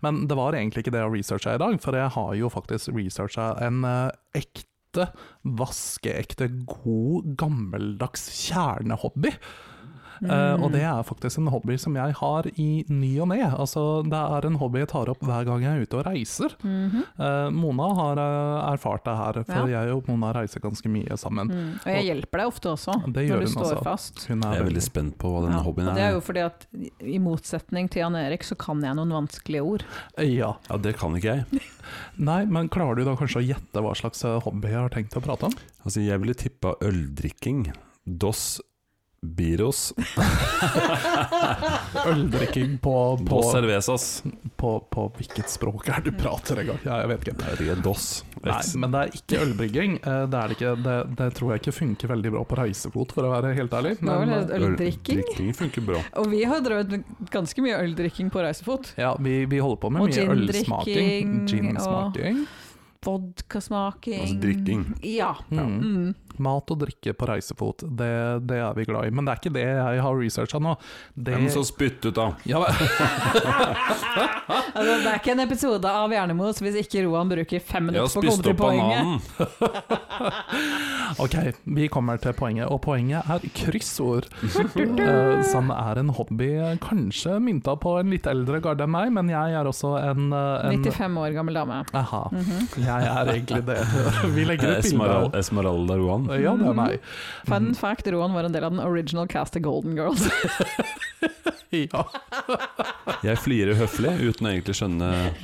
Men det var egentlig ikke det jeg researcha i dag, for jeg har jo faktisk researcha en eh, ekte, vaskeekte, god, gammeldags kjernehobby. Eh, og det er faktisk en hobby som jeg har i ny og ne. Altså, det er en hobby jeg tar opp hver gang jeg er ute og reiser. Mhm. Eh, Mona har eh, erfart det her, for jeg og Mona reiser ganske mye sammen. Mm. Og jeg hjelper deg ofte også, Det gjør når du hun står også. fast. Hun Jeg er veldig spent på hva den Ja, altså. hobbyen og er. det er jo fordi at i motsetning til Jan Erik, så kan jeg noen vanskelige ord. Ja. Ja, det kan ikke jeg. Nei, men klarer du da kanskje å gjette hva slags eh, hobby jeg har tenkt å prate om? Altså, jeg ville tippa øldrikking. Dos biros Øldrikking på, på, på cervezas. på, på hvilket språk er det Mm. du prater engang? Ja, jeg vet ikke. Jeg vet ikke, dos. Nei, X. men det er ikke ølbrygging. Eh, Det, er det, ikke, det, det tror jeg ikke funker veldig bra på reisefot, for å være helt ærlig. Det var vel Men, eh, øldrikking. Øldrikking funker bra. Og vi har drevet med ganske mye øldrikking på reisefot. ja, vi, vi holder på med Og mye ølsmaking. gin-drikking, og- Gin-smaking. Vodkasmaking Altså drikking. Ja. Ja. Mm. Mm. Mat og drikke på reisefot, det, det er vi glad i. Men det er ikke det jeg har researcha nå. Det, Hvem som spyttet, da? ja, men- Altså, det er ikke en episode av Hjernemos hvis ikke Roan bruker fem Jeg har minutter på å komme spist til opp poenget. bananen. ok, vi kommer til poenget, og poenget er kryssord. eh, som er en hobby kanskje mynta på en litt eldre garde enn meg, men jeg er også en, eh, en 95 år gammel dame. Aha. Jeg er egentlig det. Vi legger ut Esmeral- bilde. Esmeralda Rohan. Ja, det er Mhm. meg. Fun fact, Roan var en del av den original cast of Golden Girls. Ja. Jeg flirer høflig uten å egentlig skjønne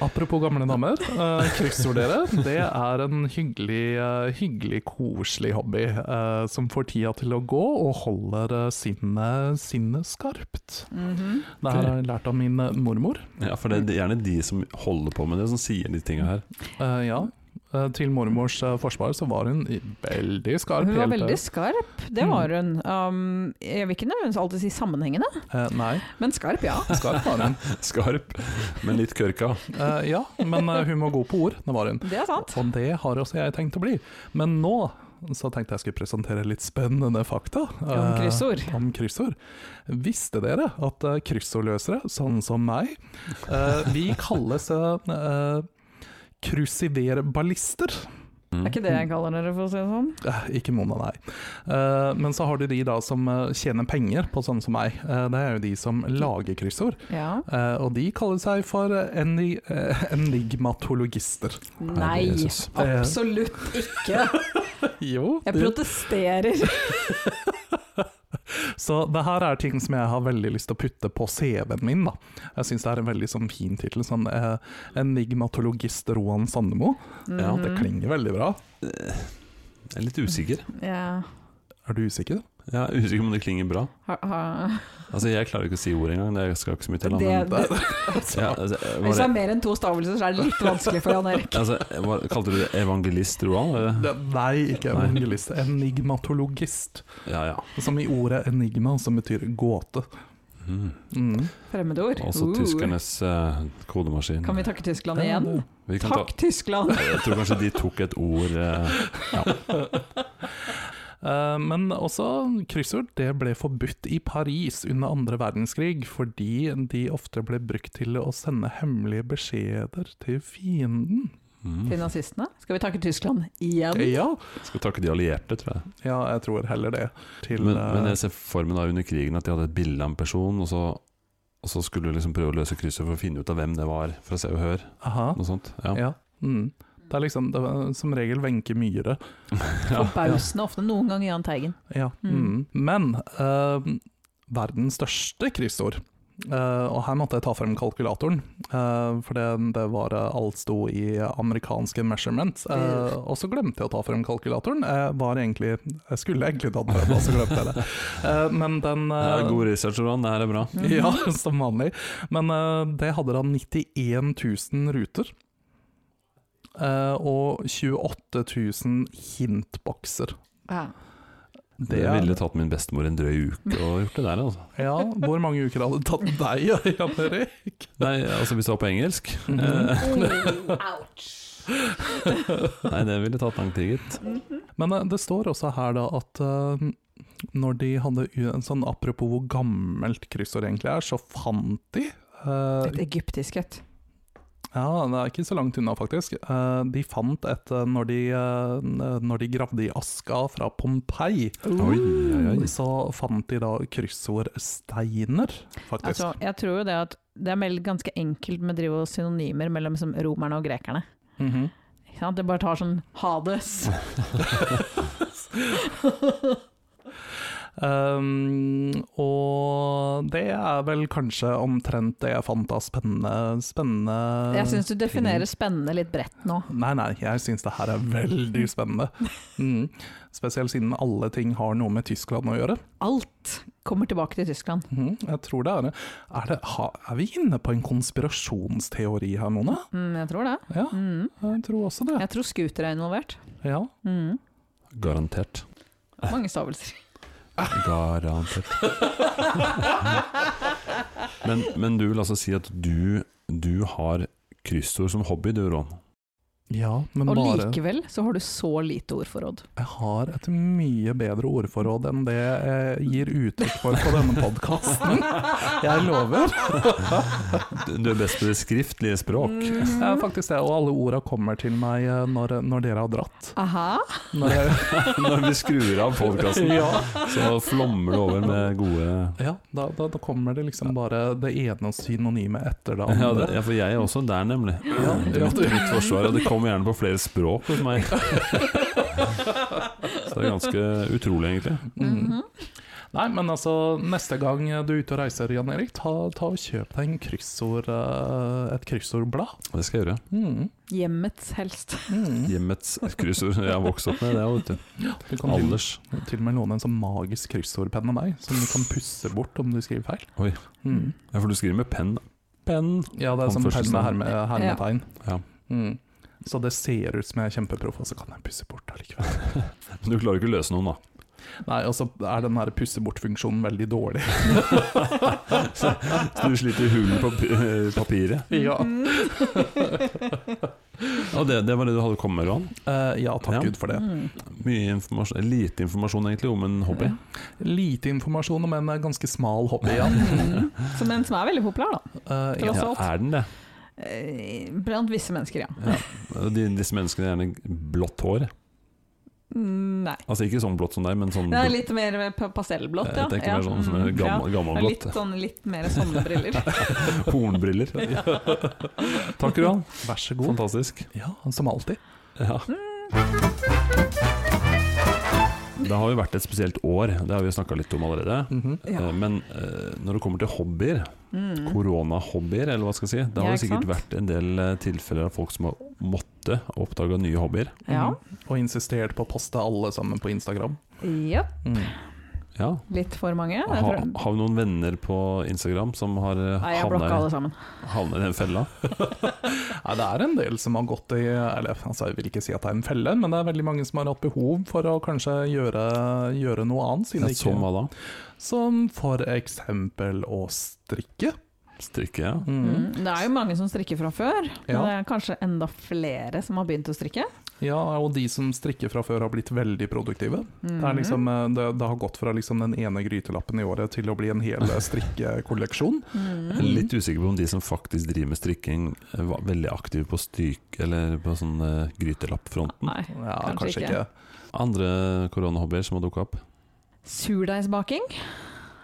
Apropos gamle damer, eh, kryssord dere. Det er en hyggelig, eh, hyggelig koselig hobby eh, som får tida til å gå og holder eh, sinnet sinnet skarpt. Mhm. Det her har jeg lært av min eh, mormor. Ja, for det er gjerne de som holder på med det, som sier de tinga her. Eh, ja. Eh, Til mormors eh, forsvar så var hun i- veldig skarp. Hun var helt, eh, veldig skarp, det var Mm. hun. Um, jeg vil ikke nødvendigvis alltid si sammenhengende, eh, Nei, men skarp, ja. skarp var hun. Skarp, men litt kørka. Eh, ja, men eh, hun var god på ord, det var hun. Det er sant. Og det har også jeg tenkt å bli. Men nå så tenkte jeg skulle presentere litt spennende fakta. Om eh, kryssord. om kryssord. Visste dere at eh, kryssordløsere, sånn som meg, eh, vi kalles eh, eh, krusiverballister? Mm. Er ikke det jeg kaller dere, for å si det sånn? Eh, ikke Mona, nei. Eh, men så har du de da som eh, tjener penger på sånne som meg. Eh, det er jo de som lager kryssord. Ja. Eh, og de kaller seg for eni eh, enigmatologister. Nei, Jesus. absolutt ikke. Jo, Jeg protesterer. Så det her er ting som jeg har veldig lyst til å putte på CV-en min. da. Jeg syns det er en veldig sånn, fin tittel. Sånn, eh, 'Enigmatologist Roan Sandemo'. Ja, Det Mm. klinger veldig bra. Jeg er litt usikker. Ja. Er du usikker? Jeg er usikker om det klinger bra. Ha, ha. Altså, Jeg klarer ikke å si ordet engang. Det skal ikke så mye til. da, men- Det, det, Ja, altså, jeg hvis det er var, mer enn to stavelser, så er det litt vanskelig for Jan Erik. altså, jeg var, kalte du det evangelist, Roan? Eller? Det, nei, ikke evangelist. Enigmatologist. Ja ja. Som i ordet 'enigma', som betyr gåte. Mm. Mm. Fremmedord. Også Uh. tyskernes eh, kodemaskin. Kan vi takke Tyskland igjen? Vi kan ta- Takk, Tyskland! Jeg tror kanskje de tok et ord eh, Eh, men også kryssord det ble forbudt i Paris under andre verdenskrig, fordi de ofte ble brukt til å sende hemmelige beskjeder til fienden. mm. Til nazistene. Skal vi takke Tyskland igjen? Ja, Skal takke de allierte, tror jeg. Ja, jeg tror heller det. Til, Men, eh, men jeg ser for meg da under krigen at de hadde et bilde av en person, og så, og så skulle du liksom prøve å løse krysset for å finne ut av hvem det var, for å se og høre. aha, Noe sånt. Ja. ja. Mm. Det er liksom det var som regel Wenche Myhre. Forbausende ofte. Noen ganger Jahn Teigen. Ja. Mm. Mm. Men eh, verdens største kryssord, Eh, og her måtte jeg ta frem kalkulatoren, eh, for det, det var eh, alt sto i amerikanske measurements. Eh, Mm. og så glemte jeg å ta frem kalkulatoren. Jeg var egentlig Jeg skulle egentlig tatt prøven, og så glemte jeg det. Eh, men den Det eh, er god research, Ron. Det her er bra. Ja, som vanlig. Men eh, det hadde da 91 000 ruter. eh, og 28 000 hintbokser. Ja. Det ville tatt min bestemor en drøy uke å gjort det der, altså. Ja, hvor mange uker hadde det tatt deg, Jan Erik? Nei, altså hvis det var på engelsk. Mhm. Eh, Ouch. Nei, det ville tatt lang tid, gitt. Men eh, det står også her da at eh, når de hadde u- en sånn Apropos hvor gammelt kryssord egentlig er, så fant de eh, Et egyptisk et. Ja, det er ikke så langt unna, faktisk. Eh, de fant et eh, når, de, eh, når de gravde i aska fra Pompeii, Oi, oi, oi. så fant de da kryssordsteiner, faktisk. Altså, jeg tror jo det at det er vel ganske enkelt med å drive og synonymer mellom liksom, romerne og grekerne. Mhm. Ikke sant? Det bare tar sånn Hades. Um, og det er vel kanskje omtrent det jeg fant av spennende, spennende Jeg syns du definerer ting. spennende litt bredt nå. Nei, nei, jeg syns det her er veldig spennende. Mm. Spesielt siden alle ting har noe med Tyskland å gjøre. Alt kommer tilbake til Tyskland. Mm, jeg tror det er det. Er, det ha, er vi inne på en konspirasjonsteori her, Mona? Mm, jeg tror det. Ja, Mm. jeg tror også det. Jeg tror scooter er involvert. Ja. Mm. Garantert. Mange stavelser. Garantert. Men, men du vil altså si at du, du har kryssord som hobby, du, Ron? ja, men Og bare likevel så har du så lite ordforråd. Jeg har et mye bedre ordforråd enn det jeg gir uttrykk for på denne podkasten. Jeg lover. Du er best på det skriftlige språk. Det er faktisk det, og alle orda kommer til meg eh, når, når dere har dratt. Aha. Når jeg, Når vi skrur av podkasten, Mm. ja. så flommer det over med gode Ja, da, da, da kommer det liksom bare det ene synonymet etter det ja, andre. det, ja, for jeg er også der, nemlig. Ja, Det er ja, mitt, du- mitt forsvar, og det kommer gjerne på flere språk hos meg. Så det er ganske utrolig, egentlig. Mm. Mhm. Nei, men altså, neste gang du er ute og reiser, Jan Erik, ta, ta og kjøp deg en kryssord, eh, et kryssordblad. Det skal jeg gjøre. Mm. Hjemmets helst. Mm. Hjemmets kryssord. Jeg har vokst opp med det, vet du. Du kan til, Alders. til og med låne en sånn magisk kryssordpenn av meg, som du kan pusse bort om du skriver feil. Oi. Mm. Ja, for du skriver med penn. da. Penn. Ja, det er sånn penn med herme, Ja. hermetegn. Ja. Mm. Så det ser ut som jeg er kjempeproff, og så kan jeg pusse bort allikevel. Du klarer ikke å løse noen, da. Nei, og så er den her pusse bort-funksjonen veldig dårlig. Så så du sliter hull på p- papiret. Ja, Ja, det, det var det du hadde kommet med, Roan. Eh, ja takk Ja. Gud for det. Mm. Mye informasjon, eh, lite informasjon egentlig om en hobby. Lite informasjon om en eh, ganske smal hobby igjen. Mm. Som en som er veldig populær, da. Eh, ja. Tross Ja, alt. er den det? Eh, Blant visse mennesker, ja. De, disse menneskene har gjerne blått hår. Mm, Nei. Altså ikke sånn blått som deg, men sånn Det er litt mer pa- pastellblått, ja. Jeg tenker ja. mer sånn som Mm, gammel, ja. Litt, gammelblått. sånn, litt mer sommerbriller. Hornbriller. Takk, Roan. Vær så god. Fantastisk. Ja, som alltid. Ja. Det har jo vært et spesielt år, det har vi snakka litt om allerede. Mhm. Mm. Ja. Eh, Men eh, når det kommer til hobbyer, Mm. koronahobbyer, eller hva skal jeg si, det har Ja, jo sikkert ikke sant? vært en del eh, tilfeller av folk som har måttet oppdage nye hobbyer. Ja. Mhm. Og insistert på å poste alle sammen på Instagram. Japp. Mm. Ja. Litt for mange. Jeg Ha, tror- har vi noen venner på Instagram som har eh, Nei, jeg blokka alle havnet i- sammen. havnet i den fella? Nei, det er en del som har gått i eller, altså, Jeg vil ikke si at det er en felle, men det er veldig mange som har hatt behov for å kanskje gjøre, gjøre noe annet. Siden Ja, det som ikke, hva da? som for eksempel å strikke. Strikke, ja. Mhm. Mm. Det er jo mange som strikker fra før, Ja. men det er kanskje enda flere som har begynt å strikke. Ja, og de som strikker fra før har blitt veldig produktive. Det, er Mhm. liksom, eh, det, det har gått fra liksom den ene grytelappen i året til å bli en hel eh, strikkekolleksjon. Mm. Jeg er litt usikker på om de som faktisk driver med strikking, eh, var veldig aktive på stryk eller på sånn eh, grytelappfronten. Nei. Ja, Kanskje kanskje, ikke. ikke. Andre koronahobbyer som har dukka opp? Surdeigsbaking.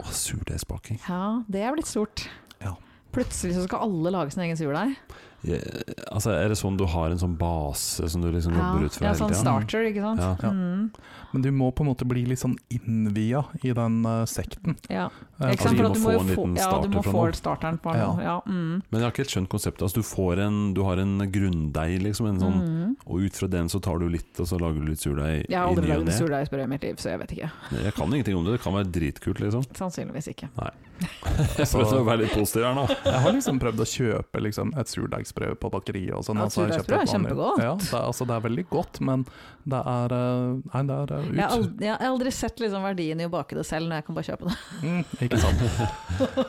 Å, Surdeigsbaking. Ja, det er blitt stort. Ja. Plutselig så skal alle lage sin egen surdeig. Jeg, altså, er det sånn du har en sånn base som du liksom jobber ut fra ja, hele sånn tiden? starter, ikke sant. Ja. Ja. Ja. Mm, Men du må på en måte bli litt sånn innvia i den eh, sekten. ja. Eh, Ikke sant, du for må at du få må jo en få, liten ja, du starter må fra få noe. starteren på Ja. noe. Ja. Mm. Men jeg har ikke helt skjønt konseptet. Altså, du, får en, du har en grunndeig, liksom, en sånn, Mm. og ut fra den så tar du litt, og så lager du litt surdeig Jeg har i aldri ny og lagd ne. surdeigsbrød i mitt liv, så jeg vet ikke. Jeg kan ingenting om det, det kan være dritkult, liksom. Sannsynligvis ikke. Jeg prøvde å være litt positiv her nå. Jeg har liksom prøvd å kjøpe liksom, et surdeigsbrød på bakeriet og sånn. Ja, og så har jeg kjøpt et surdeigsbrød er vanlig- kjempegodt. Ja, det, er- altså, det er veldig godt, men det er eh, Nei, det er eh, ut. Jeg har aldri, jeg har aldri sett liksom verdien i å bake det selv, når jeg kan bare kjøpe det. Mm, ikke sant.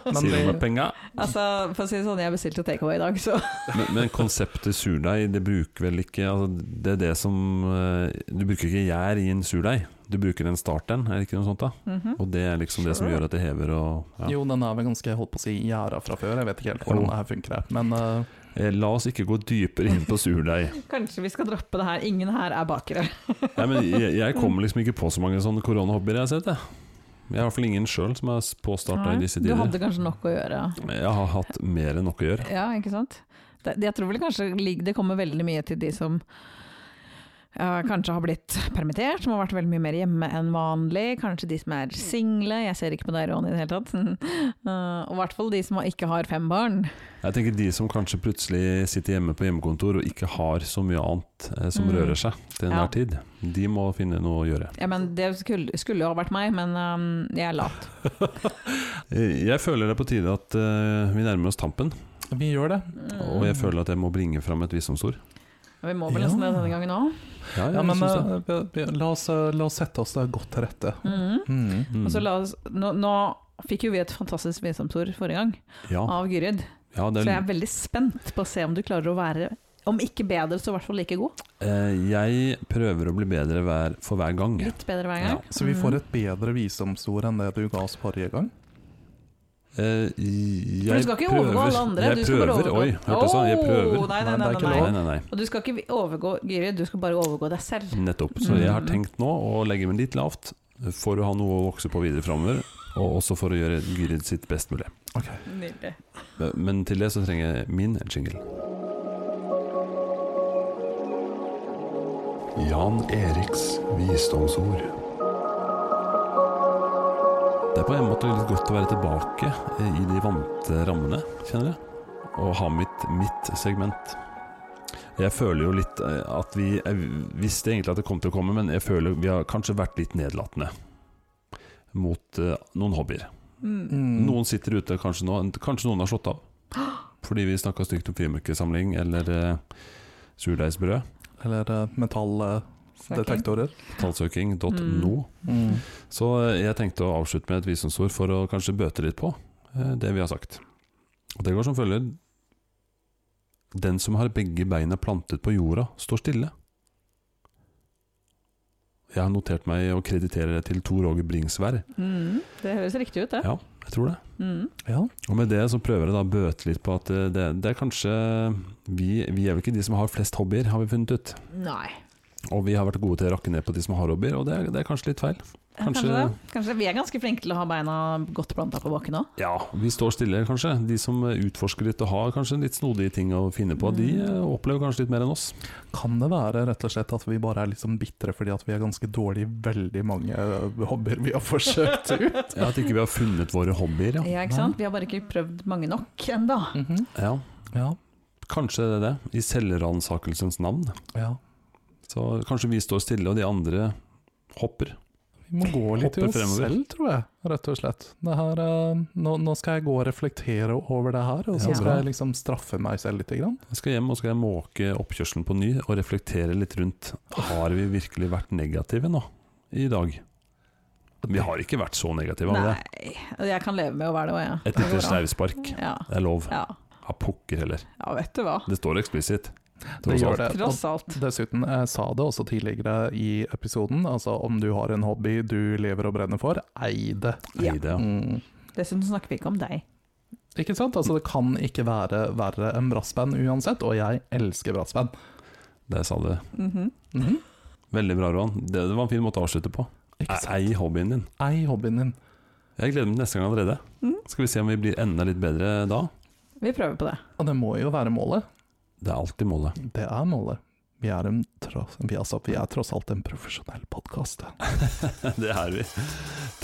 Men Sier du med det, penga? Altså, for å si det sånn, jeg bestilte takeaway i dag, så Men, men konseptet surdeig, det bruker vel ikke altså, Det er det som eh, Du bruker ikke gjær i en surdeig, du bruker en starteren, er det ikke noe sånt da? Mhm. Og det er liksom det som Sure. gjør at det hever og ja. jo, den er vel ganske holdt på å si gjæra fra før. Jeg vet ikke helt hvordan det her funker, her, men eh, Eh, La oss ikke gå dypere inn på surdeig. Kanskje vi skal droppe det her. Ingen her er bakere. Nei, men jeg, jeg kommer liksom ikke på så mange sånne koronahobbyer jeg har sett. Jeg, jeg har i hvert fall ingen sjøl som er påstarta i disse du tider. hadde kanskje nok å gjøre. Jeg har hatt mer enn nok å gjøre. Ja, ikke sant? Det, jeg tror vel kanskje lig- det kommer veldig mye til de som ja, kanskje har blitt permittert, som har vært veldig mye mer hjemme enn vanlig. Kanskje de som er single, jeg ser ikke på deg Ronny i det hele tatt. Eh, og i hvert fall de som ikke har fem barn. Jeg tenker de som kanskje plutselig sitter hjemme på hjemmekontor og ikke har så mye annet eh, som Mm. rører seg til enhver Ja. tid, de må finne noe å gjøre. Ja, men det skulle, skulle jo ha vært meg, men eh, jeg er lat. Eh, Jeg føler det er på tide at eh, vi nærmer oss tampen, vi gjør det. og jeg føler at jeg må bringe fram et visdomsord. Mm. Vi må vel Ja. nesten det denne gangen òg. Ja, jeg men synes det. eh, vi- vi- la, oss, eh, la oss sette oss det godt til rette. Mm. Mm. Og så la oss, nå, nå fikk jo vi et fantastisk visdomsord forrige gang, Mm. ja. av Gyrid. Ja, det Så er, jeg er veldig spent på å se om du klarer å være, om ikke bedre, så i hvert fall like god. eh, jeg prøver å bli bedre hver, for hver gang. Litt bedre hver gang. Mm. Så vi får et bedre visdomsord enn det du ga oss forrige gang. Eh, For jeg du skal ikke overgå alle andre. Jeg du skal prøver, bare overgå. oi, hørte jeg sa, jeg prøver. Åh, nei, nei, Men det nei, er ikke nei, Nei, nei. nei, nei. Og du skal ikke overgå Gyri, du skal bare overgå deg selv. Nettopp. Så jeg har Mm. tenkt nå å legge meg litt lavt for å ha noe å vokse på videre framover, og også for å gjøre Gyrid sitt best mulig. Mm. Nydelig. Men til det så trenger jeg min jingle. Jan Eriks visdomsord. Det er på en måte litt godt å være tilbake eh, i de vante rammene, kjenner jeg. Og ha mitt, mitt segment. Jeg føler jo litt eh, at vi Jeg visste egentlig at det kom til å komme, men jeg føler vi har kanskje vært litt nedlatende mot eh, noen hobbyer. Mm. Noen sitter ute kanskje nå, kanskje noen har slått av. Fordi vi snakka stygt om frimerkesamling eller eh, surdeigsbrød. Eller eh, metalldetektorer. Tallsøking.no. Mm. Så eh, jeg tenkte å avslutte med et visdomsord for å kanskje bøte litt på eh, det vi har sagt. Og det går som følger Den som har begge beina plantet på jorda, står stille. Jeg har notert meg å kreditere det til Tor Åge Bringsværd. Mm. Det høres riktig ut, det. Ja, jeg tror det. Mm. Ja. Og med det så prøver jeg da å bøte litt på at eh, det, det er kanskje vi, vi er vel ikke de som har flest hobbyer, har vi funnet ut. Nei. Og vi har vært gode til å rakke ned på de som har hobbyer, og det er, det er kanskje litt feil. Ja, Kanskje, det. Kanskje vi er ganske flinke til å ha beina godt planta på bakken òg. Ja, vi står stille kanskje. De som utforsker litt og har kanskje litt snodige ting å finne på, de eh, opplever kanskje litt mer enn oss. Kan det være rett og slett at vi bare er litt sånn bitre fordi at vi er ganske dårlige i veldig mange eh, hobbyer vi har forsøkt ut? Ja, At ikke vi har funnet våre hobbyer, ja. Ja, ikke sant? Vi har bare ikke prøvd mange nok ennå. Mhm. ja. Ja. Kanskje det er det, i selvransakelsens navn. ja. Så kanskje vi står stille, og de andre hopper. Vi må gå litt i Hoppe oss fremover. selv, tror jeg, rett og slett. Det her, eh, nå, nå skal jeg gå og reflektere over det her, og så Ja. skal Bra. jeg liksom straffe meg selv litt. Grann. Jeg skal hjem og skal jeg måke oppkjørselen på ny og reflektere litt rundt Har vi virkelig vært negative nå, i dag? Vi har ikke vært så negative, har vi det? Nei. Jeg kan leve med å være det òg, jeg. Et Det går lite bra. snauspark. Ja. Det er lov. Ja. Ja, pokker heller. ja, vet du hva. Det står eksplisitt. Det gjør det. Og Tross alt. Dessuten, jeg sa det også tidligere i episoden, altså om du har en hobby du lever og brenner for, ei det. Ja. Nei, det, ja. Mm. Dessuten snakker vi ikke om deg. Ikke sant? Altså, det kan ikke være verre enn brassband uansett, og jeg elsker brassband. Der sa du det. Mhm. Mhm. Veldig bra, Roan. Det, det var en fin måte å avslutte på. Ikke sant? Ei hobbyen din. Ei hobbyen din. Jeg gleder meg til neste gang allerede. Mm. Skal vi se om vi blir enda litt bedre da? Vi prøver på det. Og det må jo være målet. Det er alltid målet. Det er målet. Vi er, en, tross- vi, altså, vi er tross alt en profesjonell podkast. det er vi.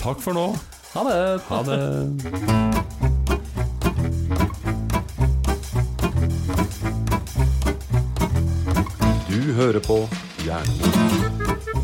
Takk for nå. Ha det! Ha det. Du hører på Jernmor.